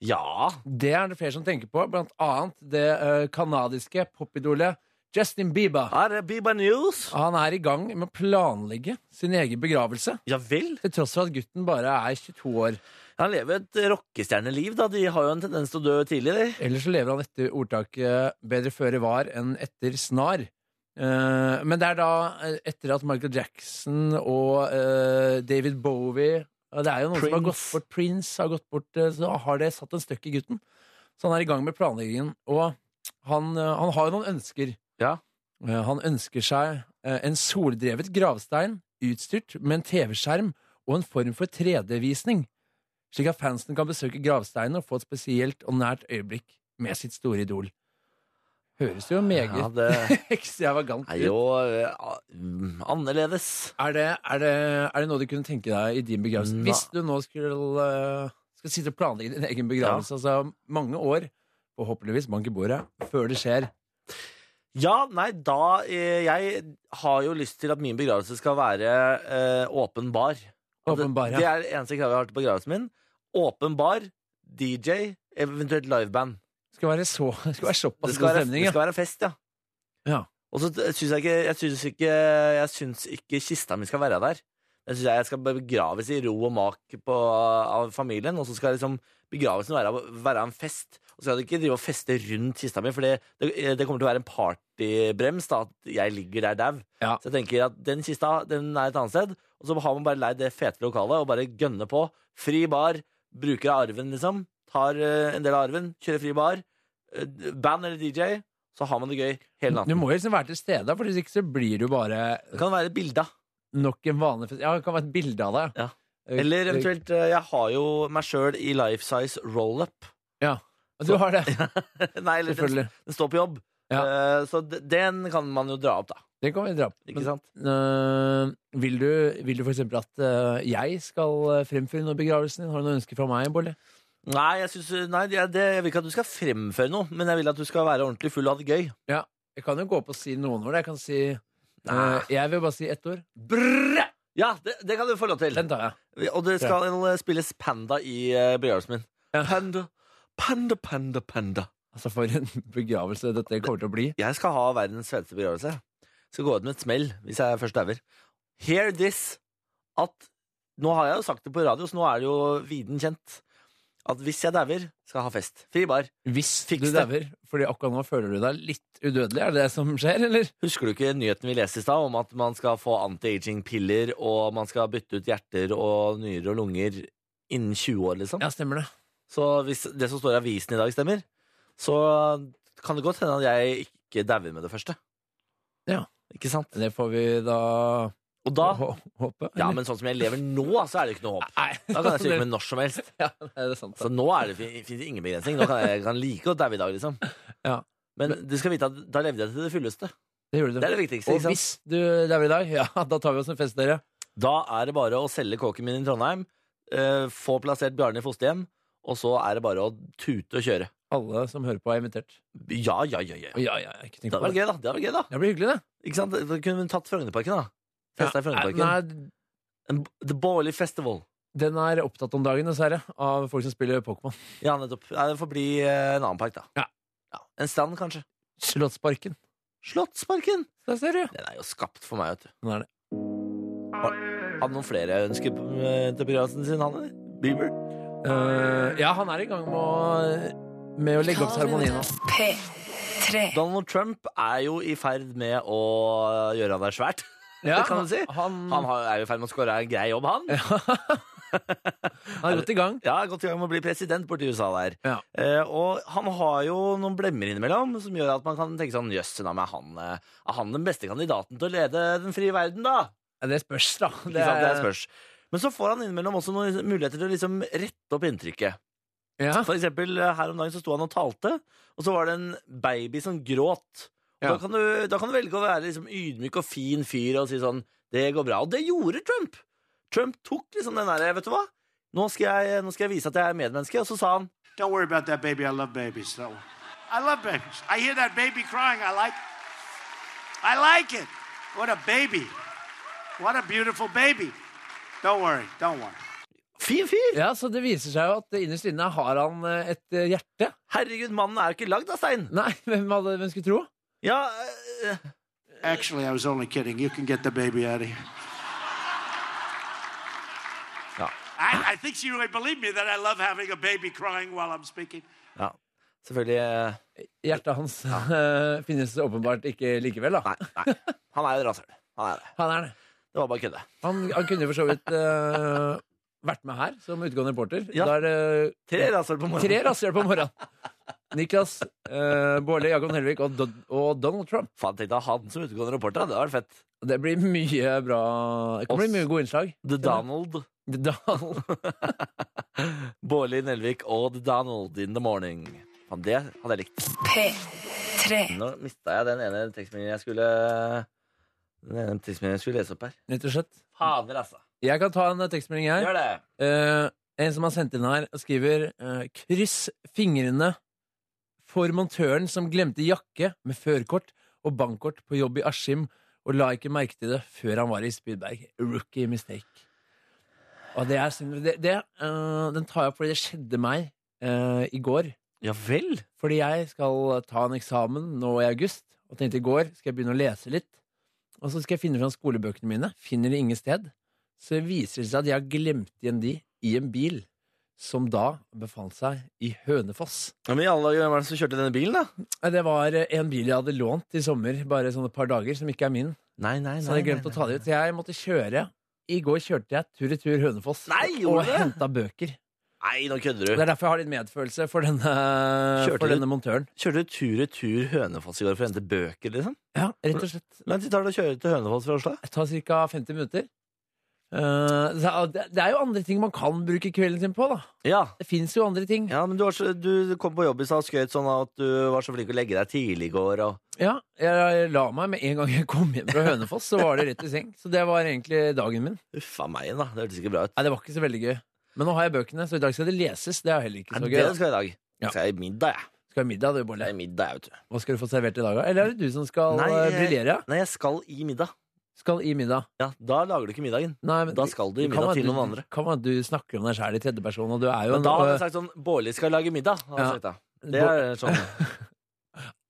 [SPEAKER 3] Ja.
[SPEAKER 2] Det er det flere som tenker på, blant annet det eh, kanadiske popidolet Justin Bieber.
[SPEAKER 3] Her er Biba News.
[SPEAKER 2] Han er i gang med å planlegge sin egen begravelse,
[SPEAKER 3] Ja vel.
[SPEAKER 2] til tross for at gutten bare er 22 år.
[SPEAKER 3] Han lever et rockestjerneliv, da. De har jo en tendens til å dø tidlig, de.
[SPEAKER 2] Ellers så lever han etter ordtaket 'bedre føre var enn etter snar'. Eh, men det er da eh, etter at Michael Jackson og eh, David Bowie og Det er jo noen som har gått
[SPEAKER 3] Prince.
[SPEAKER 2] bort Prince, har gått bort, eh, så har det satt en støkk i gutten. Så han er i gang med planleggingen. Og han, eh, han har jo noen ønsker.
[SPEAKER 3] Ja.
[SPEAKER 2] Eh, han ønsker seg eh, en soldrevet gravstein utstyrt med en TV-skjerm og en form for 3D-visning slik at fansen kan besøke gravsteinen og få et spesielt og nært øyeblikk med sitt store idol. Høres jo meget
[SPEAKER 3] Ja, det
[SPEAKER 2] ekstravagant
[SPEAKER 3] er
[SPEAKER 2] ut.
[SPEAKER 3] jo eh, a- mm, annerledes.
[SPEAKER 2] Er det, er, det, er det noe du kunne tenke deg i din begravelse?
[SPEAKER 3] Nei.
[SPEAKER 2] Hvis du nå skulle eh, skal sitte og planlegge din egen begravelse, altså mange år, forhåpentligvis bank i bordet, før det skjer.
[SPEAKER 3] Ja, nei, da eh, Jeg har jo lyst til at min begravelse skal være eh, åpenbar.
[SPEAKER 2] Åpenbar,
[SPEAKER 3] Det, det
[SPEAKER 2] ja.
[SPEAKER 3] er det eneste kravet jeg har til begravelsen min. Åpenbar, DJ, eventuelt liveband.
[SPEAKER 2] Skal være, så, skal være
[SPEAKER 3] Det
[SPEAKER 2] såpass
[SPEAKER 3] skal,
[SPEAKER 2] god
[SPEAKER 3] være,
[SPEAKER 2] stemning,
[SPEAKER 3] det
[SPEAKER 2] ja.
[SPEAKER 3] skal være fest, ja.
[SPEAKER 2] Ja.
[SPEAKER 3] Og så syns jeg ikke Jeg syns ikke, jeg syns ikke kista mi skal være der. Det synes jeg jeg skal begraves i ro og mak på, av familien, og så skal liksom begravelsen være, være en fest. Og så skal jeg ikke drive og feste rundt kista mi, for det, det, det kommer til å være en partybrems da, at jeg ligger der dau.
[SPEAKER 2] Ja.
[SPEAKER 3] Så jeg tenker at den kista den er et annet sted, og så har man bare leid det fete lokalet og bare gønne på. Fri bar, bruker av arven, liksom. Tar eh, en del av arven, kjører fri bar. eh, Band eller DJ, så har man det gøy hele
[SPEAKER 2] Du
[SPEAKER 3] natten.
[SPEAKER 2] må jo liksom være til stede, for hvis ikke så blir du bare
[SPEAKER 3] Det kan være et bilde. av.
[SPEAKER 2] nok en vanlig fest. Ja, det kan være et bilde av deg.
[SPEAKER 3] Ja. Eller eventuelt, eh, jeg har jo meg sjøl i life size roll-up.
[SPEAKER 2] Du har det,
[SPEAKER 3] Nei, eller den,
[SPEAKER 2] selvfølgelig.
[SPEAKER 3] den står på jobb. Eh, Så d- den kan man jo dra opp, da.
[SPEAKER 2] Det kan vi dra opp.
[SPEAKER 3] Ikke
[SPEAKER 2] Men,
[SPEAKER 3] sant?
[SPEAKER 2] øh, vil, du, vil du for eksempel at øh, jeg skal øh, fremføre noe i begravelsen din? Har du noen ønsker fra meg, Bolle?
[SPEAKER 3] Nei, jeg, synes, eh, nei jeg, det, jeg vil ikke at du skal fremføre noe, men jeg vil at du skal være ordentlig full og ha det gøy.
[SPEAKER 2] Jeg kan jo gå opp og si noen ord. Jeg kan si
[SPEAKER 3] Nei.
[SPEAKER 2] øh, Jeg vil bare si ett ord.
[SPEAKER 3] Brrr! Ja, det, det kan du få lov til.
[SPEAKER 2] Den tar jeg.
[SPEAKER 3] Og det skal eh, spilles panda i eh, begravelsen min.
[SPEAKER 2] Ja.
[SPEAKER 3] Panda, panda, panda, panda.
[SPEAKER 2] Altså, for en begravelse dette kommer til å bli.
[SPEAKER 3] Jeg skal ha verdens feteste begravelse. Skal gå ut med et smell hvis jeg først dauer. Hear this! At Nå har jeg jo sagt det på radio, så nå er det jo viden kjent. At hvis jeg dauer, skal jeg ha fest. Fri bar.
[SPEAKER 2] Hvis
[SPEAKER 3] Fiks
[SPEAKER 2] du
[SPEAKER 3] det.
[SPEAKER 2] dauer, fordi akkurat nå føler du deg litt udødelig. Er det det som skjer, eller?
[SPEAKER 3] Husker du ikke nyheten vi leste i stad om at man skal få anti-aging-piller, og man skal bytte ut hjerter og nyrer og lunger innen 20 år, liksom?
[SPEAKER 2] Ja, stemmer det.
[SPEAKER 3] Så hvis det som står i avisen i dag stemmer, så kan det godt hende at jeg ikke dauer med det første.
[SPEAKER 2] Ja.
[SPEAKER 3] Ikke sant?
[SPEAKER 2] Det får vi da,
[SPEAKER 3] Og da
[SPEAKER 2] hå- håpe.
[SPEAKER 3] Ja,
[SPEAKER 2] eller?
[SPEAKER 3] men sånn som jeg lever nå, så er det ikke noe håp.
[SPEAKER 2] Nei.
[SPEAKER 3] Da kan jeg stryke med når som helst.
[SPEAKER 2] Ja, det er sant.
[SPEAKER 3] Så nå er det, fin- finnes det ingen begrensning. Nå kan jeg, jeg kan like godt daue i dag, liksom.
[SPEAKER 2] Ja.
[SPEAKER 3] Men du skal vite at da levde jeg til det fulleste.
[SPEAKER 2] Det gjorde
[SPEAKER 3] Det
[SPEAKER 2] du.
[SPEAKER 3] er det viktigste.
[SPEAKER 2] Og
[SPEAKER 3] ikke sant?
[SPEAKER 2] hvis du dauer i dag, ja, da tar vi oss en fest, dere.
[SPEAKER 3] Da er det bare å selge kåken min i Trondheim, eh, få plassert Bjarne i fosterhjem, og så er det bare å tute og kjøre.
[SPEAKER 2] Alle som hører på, er invitert.
[SPEAKER 3] Ja, ja, ja. ja.
[SPEAKER 2] Å, ja, ja, ikke
[SPEAKER 3] Det
[SPEAKER 2] tenk
[SPEAKER 3] hadde
[SPEAKER 2] på
[SPEAKER 3] vært
[SPEAKER 2] det.
[SPEAKER 3] gøy, da. Det hadde vært gøy, da.
[SPEAKER 2] Det blir hyggelig, det.
[SPEAKER 3] Ikke sant? Da kunne vi tatt Frognerparken, da. Festa i Frognerparken.
[SPEAKER 2] Ja, nei,
[SPEAKER 3] En, the Bowley Festival.
[SPEAKER 2] den er opptatt om dagen, dessverre, av folk som spiller Pokémon.
[SPEAKER 3] Ja, nettopp. Nei, Det får bli eh, en annen park, da.
[SPEAKER 2] Ja.
[SPEAKER 3] Ja. En strand, kanskje.
[SPEAKER 2] Slottsparken.
[SPEAKER 3] Slottsparken!
[SPEAKER 2] Der ser du.
[SPEAKER 3] Den er jo skapt for meg, vet du.
[SPEAKER 2] Den er det.
[SPEAKER 3] Hadde noen flere ønsker eh, til begravelsen sin, han eller? Bieber?
[SPEAKER 2] Eh, ja, han er i gang med å, med å legge opp seremonien nå.
[SPEAKER 4] P3.
[SPEAKER 3] Donald Trump er jo i ferd med å eh, gjøre det svært.
[SPEAKER 2] Ja,
[SPEAKER 3] kan du si.
[SPEAKER 2] Han,
[SPEAKER 3] Han har- er jo i ferd med å skåre en grei jobb, han.
[SPEAKER 2] han er godt i gang.
[SPEAKER 3] Ja, godt i gang med å bli president borti USA der.
[SPEAKER 2] Ja.
[SPEAKER 3] Eh, og han har jo noen blemmer innimellom som gjør at man kan tenke sånn Jøss, da, men er han, eh, er han den beste kandidaten til å lede den frie verden, da?
[SPEAKER 2] Ja, Det spørs, da.
[SPEAKER 3] Ikke sant? Det er spørs. Men så får han innimellom også noen muligheter til å liksom rette opp inntrykket.
[SPEAKER 2] Ja.
[SPEAKER 3] For eksempel eh, her om dagen så sto han og talte, og så var det en baby som gråt. Og
[SPEAKER 2] Ja.
[SPEAKER 3] Da, kan du, da kan du velge å være liksom ydmyk og fin fyr og si sånn Det går bra. Og det gjorde Trump! Trump tok liksom den derre Vet du hva? Nå skal, jeg, nå skal jeg vise at jeg er medmenneske. Og så sa han
[SPEAKER 8] Don't worry about that baby. I love babies. That one. I love babies. I hear that baby crying. I like. I like it. What a baby. What a beautiful baby. Don't worry. Don't worry.
[SPEAKER 3] Fin fyr!
[SPEAKER 2] ja, Så det viser seg jo at innerst inne har han eh, et eh, hjerte.
[SPEAKER 3] Herregud, mannen er jo ikke lagd av stein.
[SPEAKER 2] Nei, hvem, hadde, hvem skulle tro?
[SPEAKER 3] Ja, øh,
[SPEAKER 8] Actually, I was only kidding. You can get the baby out of here.
[SPEAKER 3] Ja.
[SPEAKER 8] I, I think she really believed me that I love having a baby crying while I'm speaking.
[SPEAKER 3] ja. Selvfølgelig øh,
[SPEAKER 2] Hjertet hans eh, finnes åpenbart ikke likevel, da.
[SPEAKER 3] Nei. nei. Han er et rasshøl. Han er det.
[SPEAKER 2] Han er det.
[SPEAKER 3] Det var bare kødde.
[SPEAKER 2] Han, han kunne jo for så vidt eh, vært med her som utegående reporter.
[SPEAKER 3] Ja.
[SPEAKER 2] Da er det
[SPEAKER 3] Tre rasshøl på
[SPEAKER 2] Tre
[SPEAKER 3] morgenen.
[SPEAKER 2] rasshøl på morgenen. Niklas, eh, Bårli, Jakob Nelvik og, Don og Donald Trump.
[SPEAKER 3] Faen, tenkte jeg han som utegående reporter. da. Det hadde vært fett.
[SPEAKER 2] Det blir mye bra Det kommer bli mye gode innslag.
[SPEAKER 3] The Donald.
[SPEAKER 2] The Donald.
[SPEAKER 3] Bårli Nelvik og The Donald in the morning. Faen, det hadde jeg likt.
[SPEAKER 4] P3.
[SPEAKER 3] Nå mista jeg den ene tekstmeldingen jeg skulle Den ene tekstmeldingen jeg skulle lese opp her.
[SPEAKER 2] Rett og slett.
[SPEAKER 3] Fader, altså.
[SPEAKER 2] Jeg kan ta en eh, tekstmelding her.
[SPEAKER 3] Gjør det.
[SPEAKER 2] Eh, en som har sendt inn her, skriver eh, Kryss fingrene for montøren som glemte jakke med førkort og bankkort på jobb i Askim, og la ikke merke til det før han var i Spydberg. Rookie mistake. Og det er synd. Det, det, eh, den tar jeg opp fordi det skjedde meg eh, i går.
[SPEAKER 3] Ja vel.
[SPEAKER 2] Fordi jeg skal ta en eksamen nå i august, og tenkte i går skal jeg begynne å lese litt. Og så skal jeg finne fram skolebøkene mine. Finner det ingen sted. så viser det seg at jeg har glemt igjen de i en bil som da befant seg i Hønefoss.
[SPEAKER 3] Ja, men i alle dager, hvem er det som kjørte denne bilen, da?
[SPEAKER 2] Nei, Det var eh, en bil jeg hadde lånt i sommer, bare sånne par dager, som ikke er min.
[SPEAKER 3] Nei, nei,
[SPEAKER 2] Så jeg hadde glemt å ta det ut. Så jeg måtte kjøre. I går kjørte jeg tur-retur Hønefoss
[SPEAKER 3] Nei,
[SPEAKER 2] og
[SPEAKER 3] gjorde du det?
[SPEAKER 2] henta bøker.
[SPEAKER 3] Nei, nå kødder
[SPEAKER 2] Det
[SPEAKER 3] du.
[SPEAKER 2] er derfor jeg har litt medfølelse for denne,
[SPEAKER 3] Kjørte
[SPEAKER 2] for
[SPEAKER 3] du?
[SPEAKER 2] denne montøren.
[SPEAKER 3] Kjørte du tur-retur Hønefoss i går for å hente bøker, liksom?
[SPEAKER 2] Ja, rett og slett.
[SPEAKER 3] Men de tar det å kjøre til Hønefoss fra Oslo?
[SPEAKER 2] Det tar ca. 50 minutter. Eh, så det det er jo andre ting man kan bruke kvelden sin på, da.
[SPEAKER 3] Ja.
[SPEAKER 2] Det fins jo andre ting.
[SPEAKER 3] Ja, men du, var så, du kom på jobb i stad og skrøt sånn av at du var så flink å legge deg tidlig i går. Og...
[SPEAKER 2] Ja, jeg la meg med en gang jeg kom hjem fra Hønefoss, så var det rett i seng. Så det var egentlig dagen min.
[SPEAKER 3] Uff a meg, da. Det hørtes ikke bra ut.
[SPEAKER 2] Nei, det var ikke så veldig gøy. Men nå har jeg bøkene, så i dag skal det leses. Det er heller ikke
[SPEAKER 3] Er
[SPEAKER 2] så
[SPEAKER 3] det
[SPEAKER 2] gøy.
[SPEAKER 3] det
[SPEAKER 2] da.
[SPEAKER 3] du skal i dag?
[SPEAKER 2] Ja.
[SPEAKER 3] Skal jeg i middag, jeg.
[SPEAKER 2] Skal ha middag, du, Bolle.
[SPEAKER 3] Jeg er i middag, jeg, vet du.
[SPEAKER 2] Hva skal du få servert i dag, da? Eller er det du som skal
[SPEAKER 3] Nei,
[SPEAKER 2] eh,
[SPEAKER 3] jeg-
[SPEAKER 2] briljere?
[SPEAKER 3] Nei, jeg skal i middag.
[SPEAKER 2] Skal i middag.
[SPEAKER 3] Ja, Da lager du ikke middagen.
[SPEAKER 2] Nei, men
[SPEAKER 3] Da skal du i
[SPEAKER 2] det kan
[SPEAKER 3] middag
[SPEAKER 2] være
[SPEAKER 3] til
[SPEAKER 2] du-
[SPEAKER 3] noen andre.
[SPEAKER 2] Kan være at du snakker om deg sjæl i tredjeperson, og du er jo
[SPEAKER 3] Men da hadde jeg
[SPEAKER 2] en, eh,
[SPEAKER 3] sagt sånn Bårli skal lage middag. hadde jeg
[SPEAKER 2] Ja.
[SPEAKER 3] sagt da. Det er sånn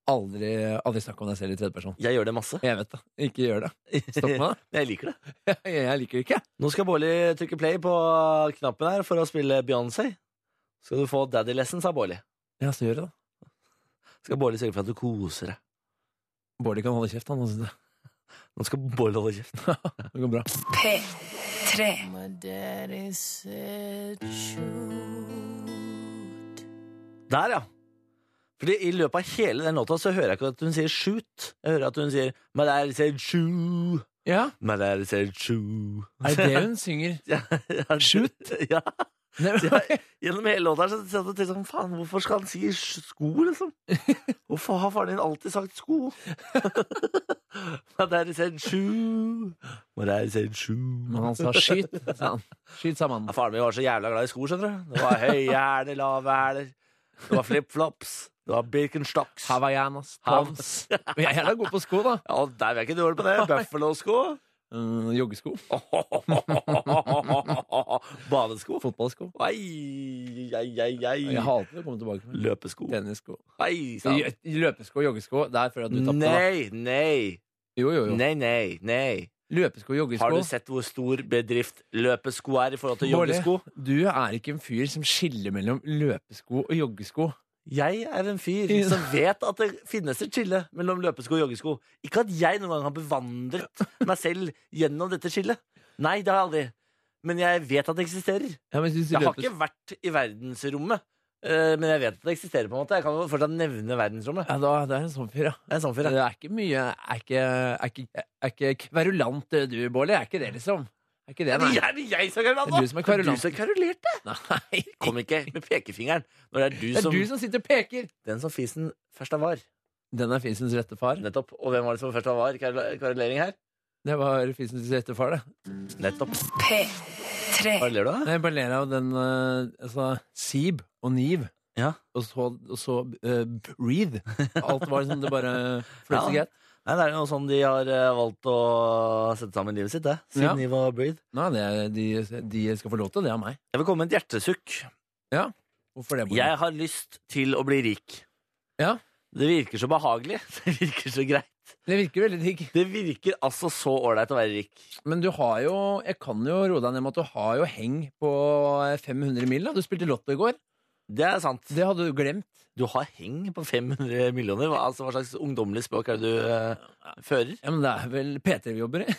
[SPEAKER 2] aldri, aldri snakk om deg selv i tredjeperson.
[SPEAKER 3] Jeg gjør det masse.
[SPEAKER 2] Jeg vet det. Ikke gjør det. Stopp meg, da.
[SPEAKER 3] Jeg liker det.
[SPEAKER 2] Jeg liker det ikke.
[SPEAKER 3] Nå skal Bårli trykke play på knappen her for å spille Beyoncé. Skal du få daddy lessons av Bårli.
[SPEAKER 2] Ja, så gjør det, da.
[SPEAKER 3] Skal Bårli sørge for at du koser deg.
[SPEAKER 2] Bård kan holde kjeft, han. han synes det.
[SPEAKER 3] Nå skal Bårli holde kjeft.
[SPEAKER 2] Det går bra.
[SPEAKER 4] P3.
[SPEAKER 3] Der, ja. Fordi i løpet av hele den låta så hører jeg ikke at hun sier shoot. Jeg hører at hun sier My daddy said shoo.
[SPEAKER 2] Ja,
[SPEAKER 3] My daddy said shoo.
[SPEAKER 2] er det det hun synger?
[SPEAKER 3] Ja, ja, shoot? Ja.
[SPEAKER 2] Nei,
[SPEAKER 3] Ja, gjennom hele låta her så satt jeg og tenkte sånn, faen, hvorfor skal han si sj- sko, liksom? Hvorfor har faren din alltid sagt sko? Men det er said shoe. Men det er said
[SPEAKER 2] Men
[SPEAKER 3] shoe.
[SPEAKER 2] han sa skyt, sa han. Skyt, sa mannen.
[SPEAKER 3] Ja, faren min var så jævla glad i sko, skjønner du. Det var høye hæler, lave hæler. Det var flipflops. Det var Birkenstocks. Ja,
[SPEAKER 2] Havajanas.
[SPEAKER 3] Hav-
[SPEAKER 2] Toms. Men jeg er jævla god på sko, da.
[SPEAKER 3] der vil jeg ikke dårlig på det. Buffalo-sko.
[SPEAKER 2] Mm, joggesko.
[SPEAKER 3] Badesko.
[SPEAKER 2] Fotballsko.
[SPEAKER 3] Ai, ai, ai,
[SPEAKER 2] Jeg
[SPEAKER 3] ai.
[SPEAKER 2] hater å komme tilbake med
[SPEAKER 3] Løpesko.
[SPEAKER 2] tennissko.
[SPEAKER 3] Ai, sann.
[SPEAKER 2] Lø- Løpesko og joggesko. Der føler jeg at du tapte. da.
[SPEAKER 3] Nei, nei,
[SPEAKER 2] Jo, jo, jo.
[SPEAKER 3] nei, nei, nei.
[SPEAKER 2] Løpesko og joggesko.
[SPEAKER 3] Har du sett hvor stor bedrift løpesko er i forhold til
[SPEAKER 2] Bårli,
[SPEAKER 3] joggesko?
[SPEAKER 2] Du er ikke en fyr som skiller mellom løpesko og joggesko.
[SPEAKER 3] Jeg er en fyr som vet at det finnes et skille mellom løpesko og joggesko. Ikke at jeg noen gang har bevandret meg selv gjennom dette skillet. Nei, det har jeg aldri. Men jeg vet at det eksisterer.
[SPEAKER 2] Ja, men synes du
[SPEAKER 3] Jeg har
[SPEAKER 2] løpes-
[SPEAKER 3] ikke vært i verdensrommet. eh, Men jeg vet at det eksisterer. på en måte Jeg kan jo fortsatt nevne verdensrommet.
[SPEAKER 2] ja, da, det er en sånn fyr, ja.
[SPEAKER 3] Jeg er en sånn fyr,
[SPEAKER 2] Det
[SPEAKER 3] jeg.
[SPEAKER 2] er ikke mye Er ikke, er ikke, er ikke kverulant eh, du, Bårli. Er ikke det, liksom? Er ikke det,
[SPEAKER 3] Ja,
[SPEAKER 2] nei?
[SPEAKER 3] men jeg- det er jeg som er kverulant,
[SPEAKER 2] Det er du som er kverulant.
[SPEAKER 3] Du som kverulerte.
[SPEAKER 2] nei.
[SPEAKER 3] Kom ikke med pekefingeren når det er du
[SPEAKER 2] Det
[SPEAKER 3] som
[SPEAKER 2] er du som sitter og peker!
[SPEAKER 3] Den som fisen først av var.
[SPEAKER 2] Den er Fisens rette far.
[SPEAKER 3] Nettopp. Og hvem var det som først av var? Kverul- Kverulering her?
[SPEAKER 2] Det var Fisens rette far, det.
[SPEAKER 3] Nettopp. Hva
[SPEAKER 4] P3.
[SPEAKER 3] ler du av?
[SPEAKER 2] Nei, Jeg bare ler av den eh, altså, Sib og Niv.
[SPEAKER 3] Ja.
[SPEAKER 2] Og så, og så eh, Breathe. Alt var liksom det bare fløt så
[SPEAKER 3] Ja.
[SPEAKER 2] greit.
[SPEAKER 3] Nei, det er jo sånn de har eh, valgt å sette sammen livet sitt, det.
[SPEAKER 2] Ja.
[SPEAKER 3] Siden Ivo Breathe.
[SPEAKER 2] Nei, det, er- de, de skal få lov til det av meg.
[SPEAKER 3] Jeg vil komme med et hjertesukk.
[SPEAKER 2] Hvorfor det? Bård?
[SPEAKER 3] Jeg har lyst til å bli rik.
[SPEAKER 2] Ja.
[SPEAKER 3] Det virker så behagelig. Det virker så greit.
[SPEAKER 2] Det virker veldig digg.
[SPEAKER 3] Det virker altså så ålreit å være rik.
[SPEAKER 2] Men du har jo Jeg kan jo roe deg ned med at du har jo heng på 500 mil. Da. Du spilte lotto i går.
[SPEAKER 3] Det er sant.
[SPEAKER 2] Det hadde du glemt.
[SPEAKER 3] Du har heng på 500 millioner. Hva, altså, hva slags ungdommelig språk er det du eh, fører?
[SPEAKER 2] Ja, men det er vel P3 vi jobber i.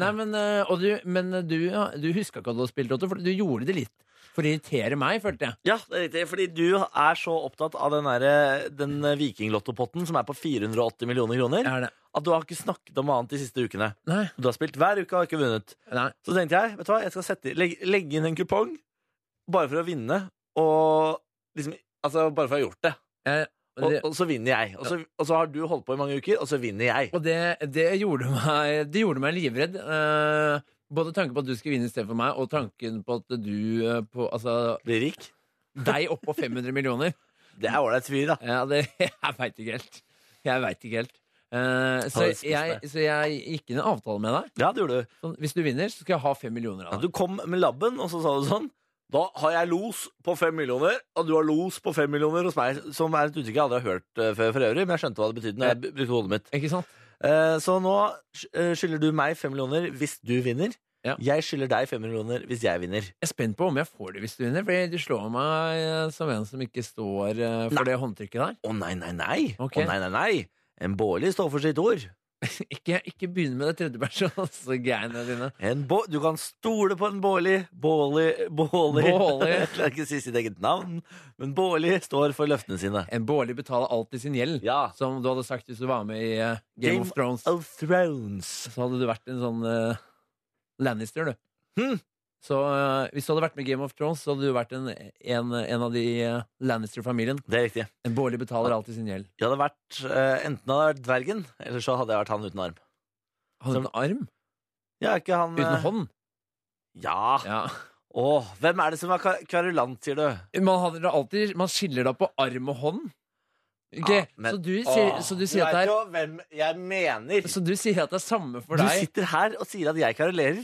[SPEAKER 2] Nei, men, eh, og du, men du, ja, du huska ikke at du hadde spilt lotto, for du gjorde det litt. For å irritere meg, følte jeg.
[SPEAKER 3] Ja, det er riktig, fordi du er så opptatt av den, derre- den vikinglottopotten som er på 480 millioner kroner,
[SPEAKER 2] Er det.
[SPEAKER 3] at du har ikke snakket om annet de siste ukene.
[SPEAKER 2] Nei.
[SPEAKER 3] Du har spilt hver uke og har ikke vunnet.
[SPEAKER 2] Nei.
[SPEAKER 3] Så tenkte jeg vet du hva, jeg skal sette, legge, legge inn en kupong bare for å vinne, og liksom, altså bare for å ha gjort det.
[SPEAKER 2] Jeg, og
[SPEAKER 3] Og,
[SPEAKER 2] Eh, det,
[SPEAKER 3] og så vinner jeg. Og så, og så har du holdt på i mange uker, og så vinner jeg.
[SPEAKER 2] og det, det, gjorde meg, det gjorde meg livredd. Eh, både tanken på at du skulle vinne i stedet for meg, og tanken på at du eh, på, Altså
[SPEAKER 3] Blir rik.
[SPEAKER 2] deg oppå 500 millioner.
[SPEAKER 3] Det er ålreit fyr, da.
[SPEAKER 2] Ja, det, jeg veit ikke helt. Jeg veit ikke helt. Eh, så,
[SPEAKER 3] det spiste
[SPEAKER 2] jeg, så jeg gikk inn i en avtale med deg.
[SPEAKER 3] Ja, det gjorde du.
[SPEAKER 2] Sånn, hvis du vinner, så skal jeg ha fem millioner
[SPEAKER 3] Ja,
[SPEAKER 2] av deg.
[SPEAKER 3] du kom med labben, og så sa du sånn Da har jeg los på fem millioner, og du har los på fem millioner hos meg. Som er et uttrykk jeg aldri har hørt eh, før for øvrig, men jeg skjønte hva det betydde når jeg b- brukte hodet mitt.
[SPEAKER 2] Ikke sant?
[SPEAKER 3] Eh, Så nå sk- eh, skylder du meg fem millioner hvis du vinner.
[SPEAKER 2] Ja.
[SPEAKER 3] Jeg skylder deg 500 millioner hvis jeg vinner.
[SPEAKER 2] Jeg er spent på om jeg får det hvis du vinner, for du slår meg eh, som en som ikke står eh, for
[SPEAKER 3] Nei.
[SPEAKER 2] det håndtrykket der.
[SPEAKER 3] Å nei, nei, nei!
[SPEAKER 2] Ok.
[SPEAKER 3] Å nei, nei, nei! En Bårli står for sitt ord.
[SPEAKER 2] Ikke, ikke begynn med det tredjepersonsgreiene dine.
[SPEAKER 3] En Bå- du kan stole på en Bårli. Bårli Bårli
[SPEAKER 2] Bårli.
[SPEAKER 3] Jeg klarer ikke å si sitt eget navn, men Bårli står for løftene sine.
[SPEAKER 2] En Bårli betaler alltid sin gjeld,
[SPEAKER 3] Ja.
[SPEAKER 2] som du hadde sagt hvis du var med i eh, Game, of Thrones.
[SPEAKER 3] Of Thrones.
[SPEAKER 2] Så hadde du vært en sånn eh, Lannister, du.
[SPEAKER 3] Hmm.
[SPEAKER 2] Så eh, hvis du hadde vært med i Game of Thrones, så hadde du vært en, en, en av de eh, Lannister-familien.
[SPEAKER 3] Det er riktig.
[SPEAKER 2] En Bårli betaler alltid sin gjeld.
[SPEAKER 3] Jeg hadde vært, eh, enten hadde jeg vært dvergen, eller så hadde jeg vært han uten arm.
[SPEAKER 2] Hadde
[SPEAKER 3] Som-
[SPEAKER 2] en arm?
[SPEAKER 3] Ja, ikke han eh,
[SPEAKER 2] Uten hånd?
[SPEAKER 3] Ja.
[SPEAKER 2] Ja.
[SPEAKER 3] Åh, hvem er det som er kva- kverulant, sier du?
[SPEAKER 2] Man, hadde da alltid, man skiller da på arm og hånd. Ok,
[SPEAKER 3] Ja, men-
[SPEAKER 2] så, du sier,
[SPEAKER 3] Åh,
[SPEAKER 2] så, du sier at
[SPEAKER 3] vet
[SPEAKER 2] det er,
[SPEAKER 3] jo hvem jeg mener.
[SPEAKER 2] så du sier at det er samme for
[SPEAKER 3] du
[SPEAKER 2] deg?
[SPEAKER 3] sitter her og sier at jeg karolerer,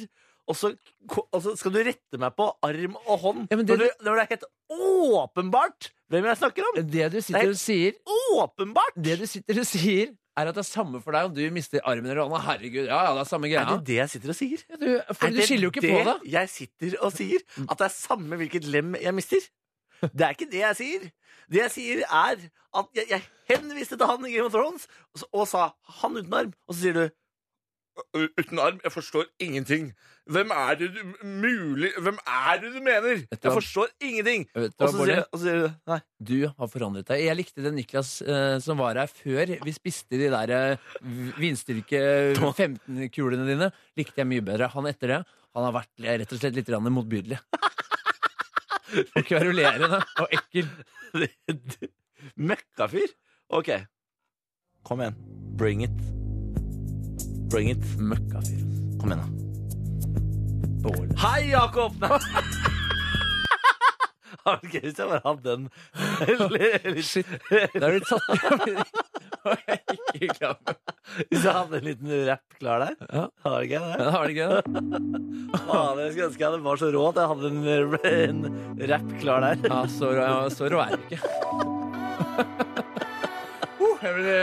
[SPEAKER 3] og så, ko- og så skal du rette meg på arm og hånd.
[SPEAKER 2] Ja, men
[SPEAKER 3] når,
[SPEAKER 2] det-
[SPEAKER 3] du, når det er helt åpenbart hvem jeg snakker om!
[SPEAKER 2] Det du sitter
[SPEAKER 3] Nei.
[SPEAKER 2] og sier,
[SPEAKER 3] Åpenbart!
[SPEAKER 2] det du sitter og sier er at det er samme for deg om du mister armen eller hånda. Herregud, ja, ja, det er samme
[SPEAKER 3] Er
[SPEAKER 2] greia.
[SPEAKER 3] det det jeg sitter og sier?
[SPEAKER 2] Ja, du, for
[SPEAKER 3] er
[SPEAKER 2] du
[SPEAKER 3] det
[SPEAKER 2] skiller jo ikke
[SPEAKER 3] det
[SPEAKER 2] på det.
[SPEAKER 3] jeg sitter og sier? At det er samme hvilket lem jeg mister? Det er ikke det jeg sier. Det jeg sier, er at jeg, jeg henviste til han i Game of Thrones og, s- og sa 'han uten arm', og så sier du «Ø, ø, Uten arm? Jeg forstår ingenting. Hvem er det du m- mulig Hvem er det du mener?
[SPEAKER 2] Vet du
[SPEAKER 3] Jeg
[SPEAKER 2] hva-
[SPEAKER 3] forstår ingenting.
[SPEAKER 2] Vet
[SPEAKER 3] Og
[SPEAKER 2] du hva,
[SPEAKER 3] så
[SPEAKER 2] Bård?
[SPEAKER 3] sier, og så sier du nei.
[SPEAKER 2] Du har forandret deg. Jeg likte det Niklas eh, som var her før vi spiste de der eh, vinstyrke 15-kulene dine. Likte jeg mye bedre. Han etter det, han har vært eh, rett og slett litt grann motbydelig. Og kverulerende og ekkel.
[SPEAKER 3] Møkkafyr? OK. Kom igjen. Bring it. Bring it.
[SPEAKER 2] Møkkafyr.
[SPEAKER 3] Kom igjen, da.
[SPEAKER 2] Bård.
[SPEAKER 3] Hei, Jakob! Nei. Har du gøy hvis jeg bare hadde den litt,
[SPEAKER 2] Shit. Da er du tatt Og jeg er ikke klar for det.
[SPEAKER 3] Hvis jeg hadde en liten rapp klar der?
[SPEAKER 2] Ja.
[SPEAKER 3] Har du ikke det?
[SPEAKER 2] Men Har du ikke det?
[SPEAKER 3] Faen, jeg skulle ønske jeg hadde var så rå at jeg hadde en, en rapp klar der.
[SPEAKER 2] Ja, så, rå- så rå er du ikke. Uh, Jeg ble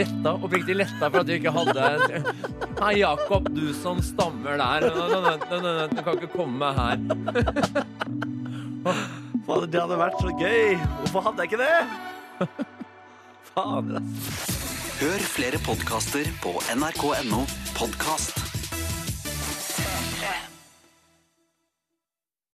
[SPEAKER 2] letta, oppriktig letta for at du ikke hadde Nei, Jakob, du som stammer der. Nei, nei, nei, nei, nei, Du kan ikke komme her.
[SPEAKER 3] Faen, det hadde vært så gøy! Hvorfor hadde jeg ikke det? Faen, ass.
[SPEAKER 1] Hør flere podkaster på nrk.no podkast.